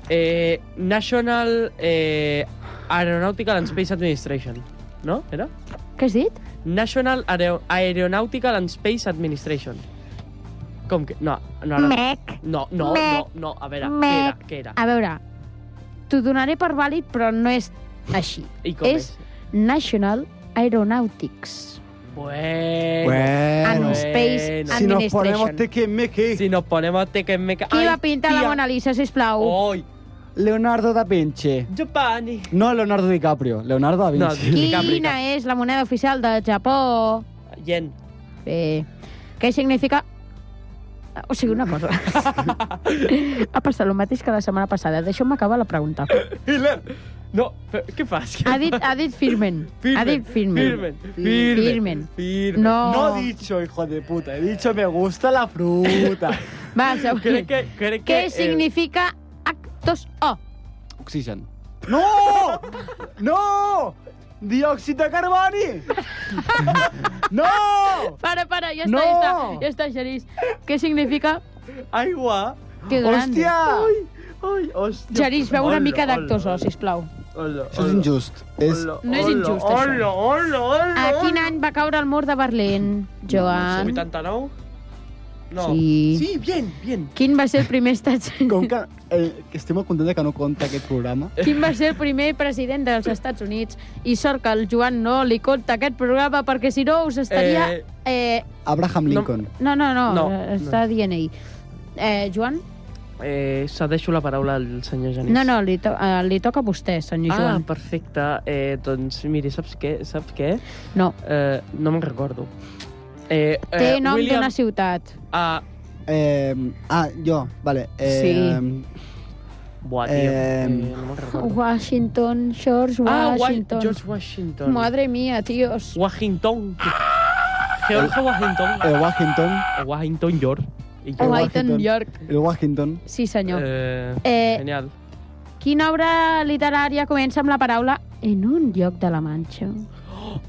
S5: Eh, National eh, Aeronautical and Space Administration. No? Era?
S6: Què has dit?
S5: National Aero Aeronautical and Space Administration. Com que... No, no, no.
S6: Mec.
S5: No, no, no,
S6: Mec.
S5: no. A veure,
S6: Mec.
S5: què era? Què
S6: A
S5: era?
S6: veure, t'ho donaré per vàlid, però no és així.
S5: I com és?
S6: National Aeronautics.
S5: Bueno.
S7: Bueno.
S6: And Space
S5: Bueno.
S7: Si nos ponemos
S6: Eh, Administration.
S7: teque meque.
S5: Si nos ponemos tequemeca...
S6: Qui
S5: Ai,
S6: va pintar la
S5: tia.
S6: Mona Lisa, sisplau?
S5: Oi,
S7: Leonardo da Vinci.
S5: Giovanni.
S7: No Leonardo DiCaprio, Leonardo da Vinci.
S5: No, Rica,
S6: Quina
S5: rica.
S6: és la moneda oficial del Japó?
S5: Yen.
S6: Bé, què significa... O sigui, una cosa. ha passat el mateix que la setmana passada. Deixeu-me acabar la pregunta.
S5: Hitler. No, però què fas?
S6: Ha dit, ha dit firmen. Ha dit Ah, firmen.
S5: Firmen. Firmen.
S6: Firmen.
S5: Firmen.
S6: No.
S7: No he dicho, hijo de puta, he dicho me gusta la fruta.
S6: Va, següent.
S5: Crec que... Crec
S6: Què
S5: que, eh,
S6: significa H2O?
S7: Oxigen. No! No! Diòxid de carboni! No!
S6: Para, para, ja està,
S7: No!
S6: ja està. Ja està, Gerís. Què significa?
S5: Aigua.
S6: Que gran.
S7: Hòstia!
S5: Ai, hòstia.
S6: Gerís, beu una
S5: Hola,
S6: mica
S5: hola,
S6: d'actoso,
S5: hola,
S6: sisplau.
S5: hola,
S7: Això és
S5: hola,
S7: injust. És...
S5: hola,
S6: No és
S5: hola,
S6: injust, això.
S5: Hola, hola, hola.
S6: A quin any va caure el mur de Berlín, Joan?
S5: 89? No.
S6: Sí.
S5: Sí, bien, bien.
S6: Quin va ser el primer estat...
S7: Com que, eh, que estic molt content de que no compta aquest programa.
S6: Quin va ser el primer president dels Estats Units? I sort que el Joan no li conta aquest programa, perquè si no us estaria...
S5: Eh,
S6: Eh,
S7: Abraham Lincoln.
S6: no, no, no,
S5: No,
S6: no, està dient ell. Eh, Joan?
S5: Eh, cedeixo la paraula al senyor Genís.
S6: No, no, li, to eh, li toca a vostè, senyor
S5: Ah,
S6: Joan.
S5: perfecte. Eh, doncs, miri, saps què? Saps què?
S6: No,
S5: Eh, no me'n recordo. Eh, eh,
S6: té nom
S5: William...
S6: d'una ciutat.
S5: Ah,
S7: Eh, ah, jo, vale. Eh,
S6: Sí.
S5: buah, tio. Eh...
S7: Eh,
S5: no me'n recordo.
S6: Washington, George
S5: Ah, Wa
S6: Washington.
S5: George Washington.
S6: Madre mía, tíos.
S5: Washington. George Washington.
S7: El Washington.
S5: Washington, George. I
S7: Oh,
S5: George.
S6: Washington,
S7: Washington.
S6: York.
S7: El Washington.
S6: Sí, senyor.
S5: Eh,
S6: Eh,
S5: genial.
S6: Quina obra literària comença amb la paraula en un lloc de la Manxa? Eh,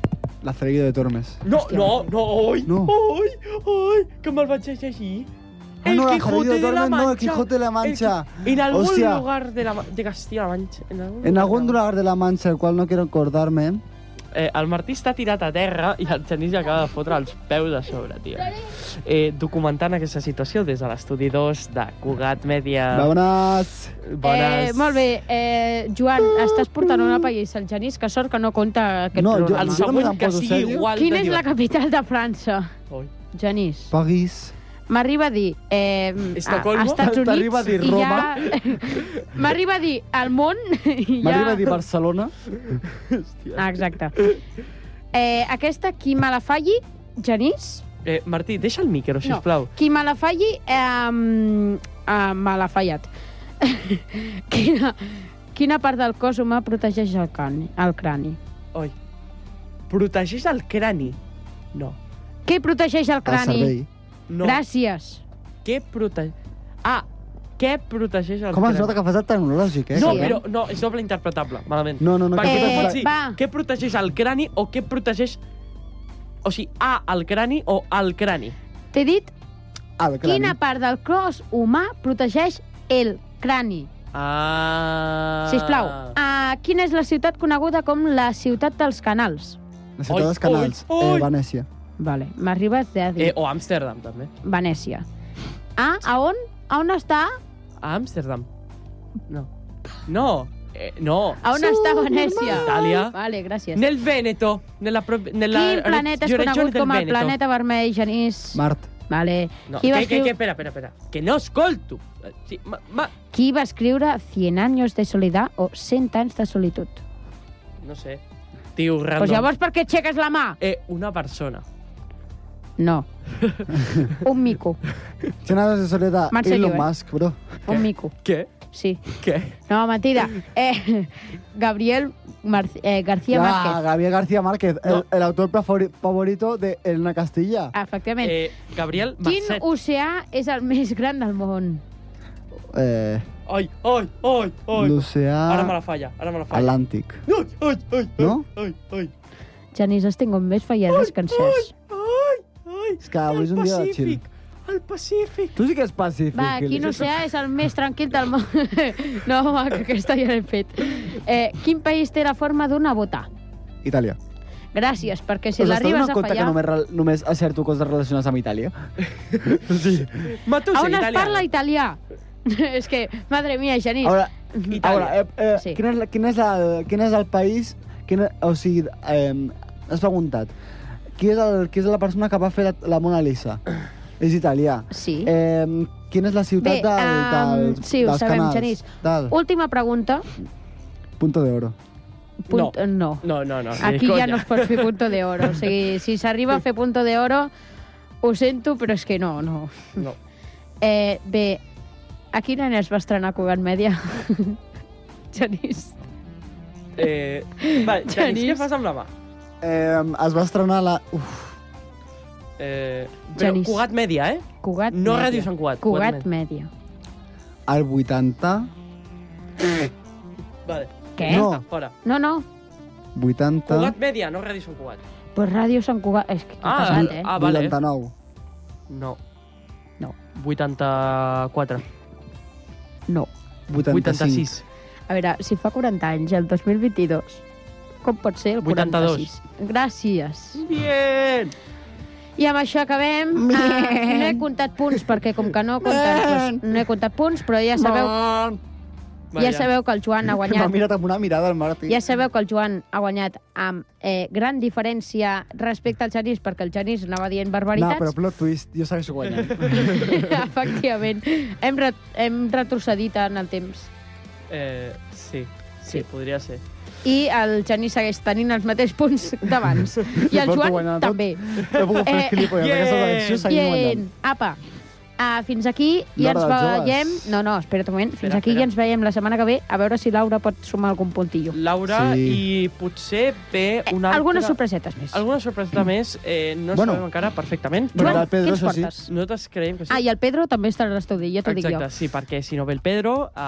S7: La Cereguida de Tormes.
S5: No,
S6: hòstia.
S5: no, no, oi,
S7: No.
S5: oi, oi, que me'l vaig llegir.
S7: Ah, no, la Cereguida de Tormes, no, el Quijote de la Mancha.
S5: El, en algún
S7: Hòstia.
S5: lugar de, la, Ma- de Castilla-La Mancha. En algún,
S7: En algún lugar de la Mancha, el cual no quiero acordarme.
S5: Eh, el Martí està tirat a terra i el Genís ja acaba de fotre els peus a sobre, tio. Eh, documentant aquesta situació des de l'estudi 2 de Cugat Media.
S7: Vámonos.
S5: Bones.
S6: Eh, molt bé, eh, Joan, estàs portant una pallissa al Genís, que sort que no compta aquest
S7: No, jo-
S5: El
S6: programa.
S7: jo- no me
S5: següent
S7: la
S5: que
S7: poso
S5: sigui
S7: sèrio.
S5: igual
S6: Quina
S5: de
S6: és la
S5: divertit.
S6: capital de França?
S5: Oi.
S6: Genís,
S7: París.
S6: m'arriba a dir eh,
S5: Estocolmo?
S6: a, a Estats Units
S7: T'arriba a dir
S6: i
S7: Roma?
S6: ja... m'arriba a dir el món i
S7: M'arriba
S6: ja...
S7: a dir Barcelona.
S6: Ah, exacte. Eh, aquesta, qui me la falli, Genís,
S5: Eh, Martí, deixa el micro, sisplau.
S6: Qui me la falli, eh, mm, eh, me l'ha fallat. quina, quina part del cos humà protegeix el, crani, el crani?
S5: Oi. Protegeix el crani. No.
S6: Què protegeix el
S7: El
S6: crani?
S7: servei.
S5: No.
S6: Gràcies.
S5: Què protegeix... Ah, què protegeix el
S7: Com es
S5: crani?
S7: nota que fas el tecnològic, eh?
S5: No,
S6: Sí, eh?
S5: però no, és doble interpretable, malament.
S7: No, no, no.
S5: Perquè
S6: Eh,
S5: tu pots dir
S6: va.
S5: què protegeix el crani o què protegeix... O sigui, A, el crani o el crani.
S6: T'he dit
S7: Ah, el crani.
S6: quina part del cos humà protegeix el crani.
S5: Ah...
S6: Sisplau, uh, quina és la ciutat coneguda com la ciutat dels canals?
S7: La ciutat
S5: Oi,
S7: dels canals.
S5: oi, oi.
S7: Eh, Venècia.
S6: Vale, m'arribes a dir
S5: Eh, o Amsterdam, també.
S6: Venècia. Ah, a on? A on està?
S5: A Amsterdam. No. No. Eh, no.
S6: A on està Venècia?
S5: Itàlia.
S6: Vale, gràcies.
S5: Nel Veneto. Nella, prov- nella
S6: Quin planeta és
S5: regione
S6: conegut
S5: del
S6: com el
S5: Veneto.
S6: planeta vermell, Genís?
S7: Mart.
S6: Vale.
S5: No,
S6: qui,
S5: que,
S6: va
S5: que, que,
S6: escriu...
S5: espera, espera, espera. Que no escolto. Eh, Sí, ma, ma,
S6: qui va escriure 100 anys de solidar o 100 anys de solitud?
S5: no sé. Tio,
S6: Doncs
S5: random.
S6: pues llavors per què aixeques la mà?
S5: Eh, una persona.
S6: No. un mico,
S7: Senadors de Soledad.
S6: Marc
S7: Elon
S6: Seguiu, eh?
S7: Musk, bro.
S6: un mico,
S5: Què?
S6: sí.
S5: Què?
S6: No, mentida. Eh, Gabriel Mar eh, García
S7: Ah,
S6: Márquez.
S7: Gabriel García Márquez, el,
S5: No.
S7: el autor favori- favorito de
S6: Ah.
S7: Elena Castilla.
S6: Efectivament.
S5: Eh, Gabriel
S6: Quin
S5: Marcet.
S6: oceà és el més gran del món?
S7: eh,
S5: Ai, ai, ai, ai.
S7: L'oceà-
S5: Ara me la falla, ara me la falla.
S7: Atlàntic.
S5: Ai, ai, ai,
S7: No?
S5: ai, ai,
S6: Genís, has tingut més fallades que encerts.
S5: ai, ai.
S7: És que avui és un dia de chill.
S5: El Pacífic.
S7: Tu sí que és pacífic.
S6: Va,
S7: Gil.
S6: quin oceà és el més tranquil del món? no, home, que aquesta ja l'he fet. Eh, quin país té la forma d'una bota?
S7: Itàlia.
S6: Gràcies, perquè si
S7: Us esteu
S6: l'arribes
S7: donant
S6: a
S7: compte
S6: fallar...
S7: que només, rel- només acerto coses relacionades amb Itàlia? sí.
S5: Matussi,
S6: A on es
S5: italià.
S6: parla italià? és que, madre mia, Genís.
S7: Ara,
S5: Itàlia.
S7: ara eh, eh,
S6: Sí.
S7: sí. quin, és, la- quin, és el, quin és el país... Quin, o sigui, eh, has preguntat. Qui és, el, qui és la persona que va fer la, la Mona Lisa? És italià.
S6: Sí.
S7: Eh, quina és la ciutat
S6: Bé,
S7: del, del,
S6: ehm, sí, ho
S7: dels
S6: sabem,
S7: canals?
S6: Genís.
S7: Del
S6: Última pregunta.
S7: Punto de Oro.
S6: Punt...
S5: No.
S6: no.
S5: No, no, no.
S6: Aquí ja no es pot fer punto de oro. O sigui, si s'arriba a fer punto de oro, ho sento, però és que no, no.
S5: No.
S6: Eh, bé, a quin any es va estrenar Cugat Mèdia? Genís.
S5: Eh, va, Genís,
S6: Genís.
S5: què fas amb la mà?
S7: Eh, es va estrenar la... Uf,
S5: Eh, però
S6: Genís.
S5: Cugat Mèdia, eh?
S6: Cugat
S5: No
S6: Mèdia.
S5: Ràdio Sant Cugat.
S6: Cugat Mèdia.
S7: el 80...
S5: Vale.
S6: Què?
S7: No.
S5: Fora.
S6: No, no.
S7: Vuitanta...
S5: Cugat Mèdia, no Ràdio Sant Cugat.
S6: Pues Ràdio Sant Cugat... És que t'ha
S5: Ah,
S6: passat, eh?
S5: ah, vale.
S7: 89.
S5: No.
S6: No.
S5: 84.
S6: No.
S7: 85.
S5: 86.
S6: A veure, si fa 40 anys, el 2022, com pot ser el
S5: 82?
S6: 46? Gràcies.
S5: Bien!
S6: I amb això acabem. Ah, no he comptat punts, perquè com que no compten, doncs no he comptat punts, però ja sabeu, ja sabeu que el Joan ha
S7: M'ha
S6: guanyat.
S7: mirat amb una mirada el Martí.
S6: Ja sabeu que el Joan ha guanyat amb eh, gran diferència respecte al Genís, perquè el Genís anava dient
S7: no,
S6: barbaritats.
S7: però plot twist, jo segueixo guanyant.
S6: Efectivament. Hem, re hem retrocedit en el temps.
S5: Eh, sí.
S6: Sí.
S5: Sí, podria ser.
S6: I el Genís segueix tenint els mateixos punts d'abans. I el
S7: porto
S6: Joan
S7: guanyant tot.
S6: també.
S7: No puc fer
S6: Eh,
S7: eh, clipoll, amb aquestes
S5: bien,
S7: eleccions seguim guanyant.
S6: Bien, apa. Uh, fins aquí i
S7: L'hora
S6: ens
S7: dels joves.
S6: veiem... No, no, espera't un moment. Fins
S5: Espera,
S6: aquí
S5: espera.
S6: i ens veiem la setmana que ve a veure si Laura pot sumar algun puntillo.
S5: Laura
S7: Sí.
S5: i potser ve
S6: Eh,
S5: Eh, una altra...
S6: Algunes sorpresetes més.
S5: Alguna sorpreseta més, eh,
S7: Bueno.
S5: no bueno. sabem encara perfectament.
S7: Bueno,
S6: Joan,
S7: el Pedro,
S6: què ens
S7: això sí.
S6: portes?
S5: Nosaltres creiem que sí.
S6: Ah, i el Pedro també estarà a l'estudi, ja t'ho dic jo.
S5: Exacte, sí, perquè si no ve el Pedro, eh,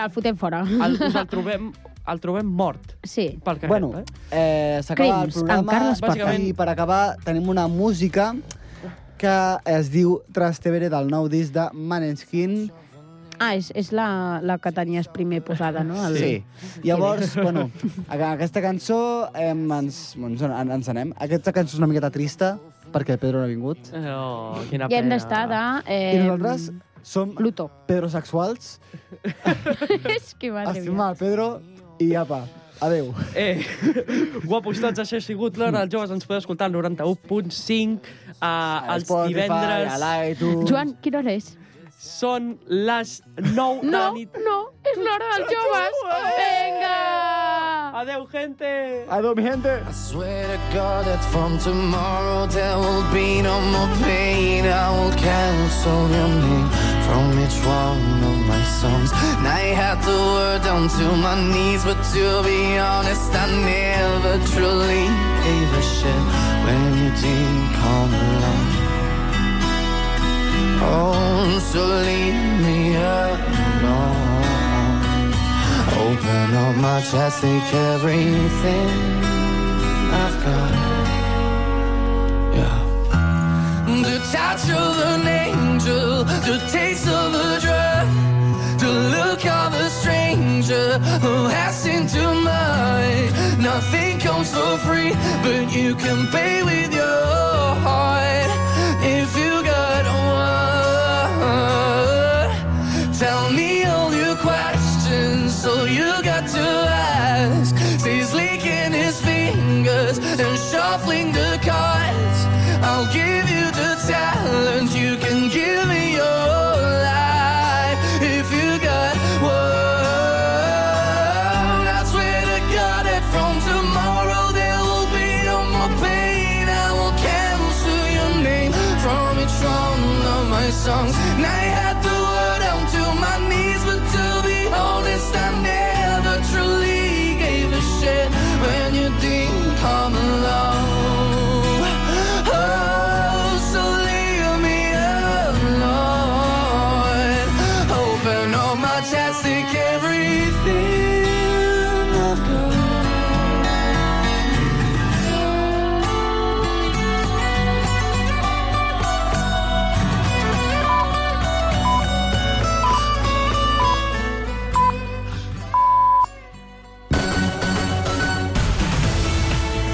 S6: Uh, el fotem fora.
S5: el, us el trobem, el trobem mort
S6: Sí.
S5: pel carrer.
S7: Bueno,
S5: eh?
S7: eh, s'acaba el
S6: Crims, amb
S7: programa.
S6: Carles
S5: Parker. Bàsicament-
S7: I per acabar tenim una música que es diu Trastevere del nou disc de Maneskin.
S6: Ah, és, és la, la que tenies primer posada, no? El...
S7: Ah, Llavors, bueno, a- aquesta cançó eh, ens, ens, en- ens anem. Aquesta cançó és una miqueta trista, perquè el Pedro no ha vingut.
S5: Oh, quina
S6: I hem
S5: pena.
S6: d'estar de... Eh,
S7: I nosaltres som
S6: Pluto.
S7: pedrosexuals.
S6: és que madre mia.
S7: Estimar el Pedro i apa, adeu.
S5: Eh, guapos tots, això ha sigut l'Hora dels Joves. Ens podeu escoltar al 91.5 eh, els
S7: Spotify,
S5: divendres.
S7: A l'iTunes.
S6: Joan, quina hora és?
S5: Són les 9 de
S6: No,
S5: la nit.
S6: no, és l'hora dels joves. Vinga!
S5: Adeu, gente!
S7: Adeu, mi gente.
S11: I swear to God that from tomorrow there will be no more pain. I will cancel your name from each one of my songs. And I had to word down to my knees, but to be honest, I never truly gave a shit when you didn't come along. Oh, so leave me alone. Open up my chest, take everything. I've got. Yeah. The touch of an angel, the taste of a drug, the look of a stranger who has into mine. Nothing comes for free, but you can pay with your heart if you got one. Tell me all your questions, all you got to ask. He's licking his fingers and shuffling the cards. I'll give you the talent, you can give me your life if you got one. I swear to God that from tomorrow there will be no more pain. I will cancel your name from each one of my songs. And I had to word down to my knees. Oh,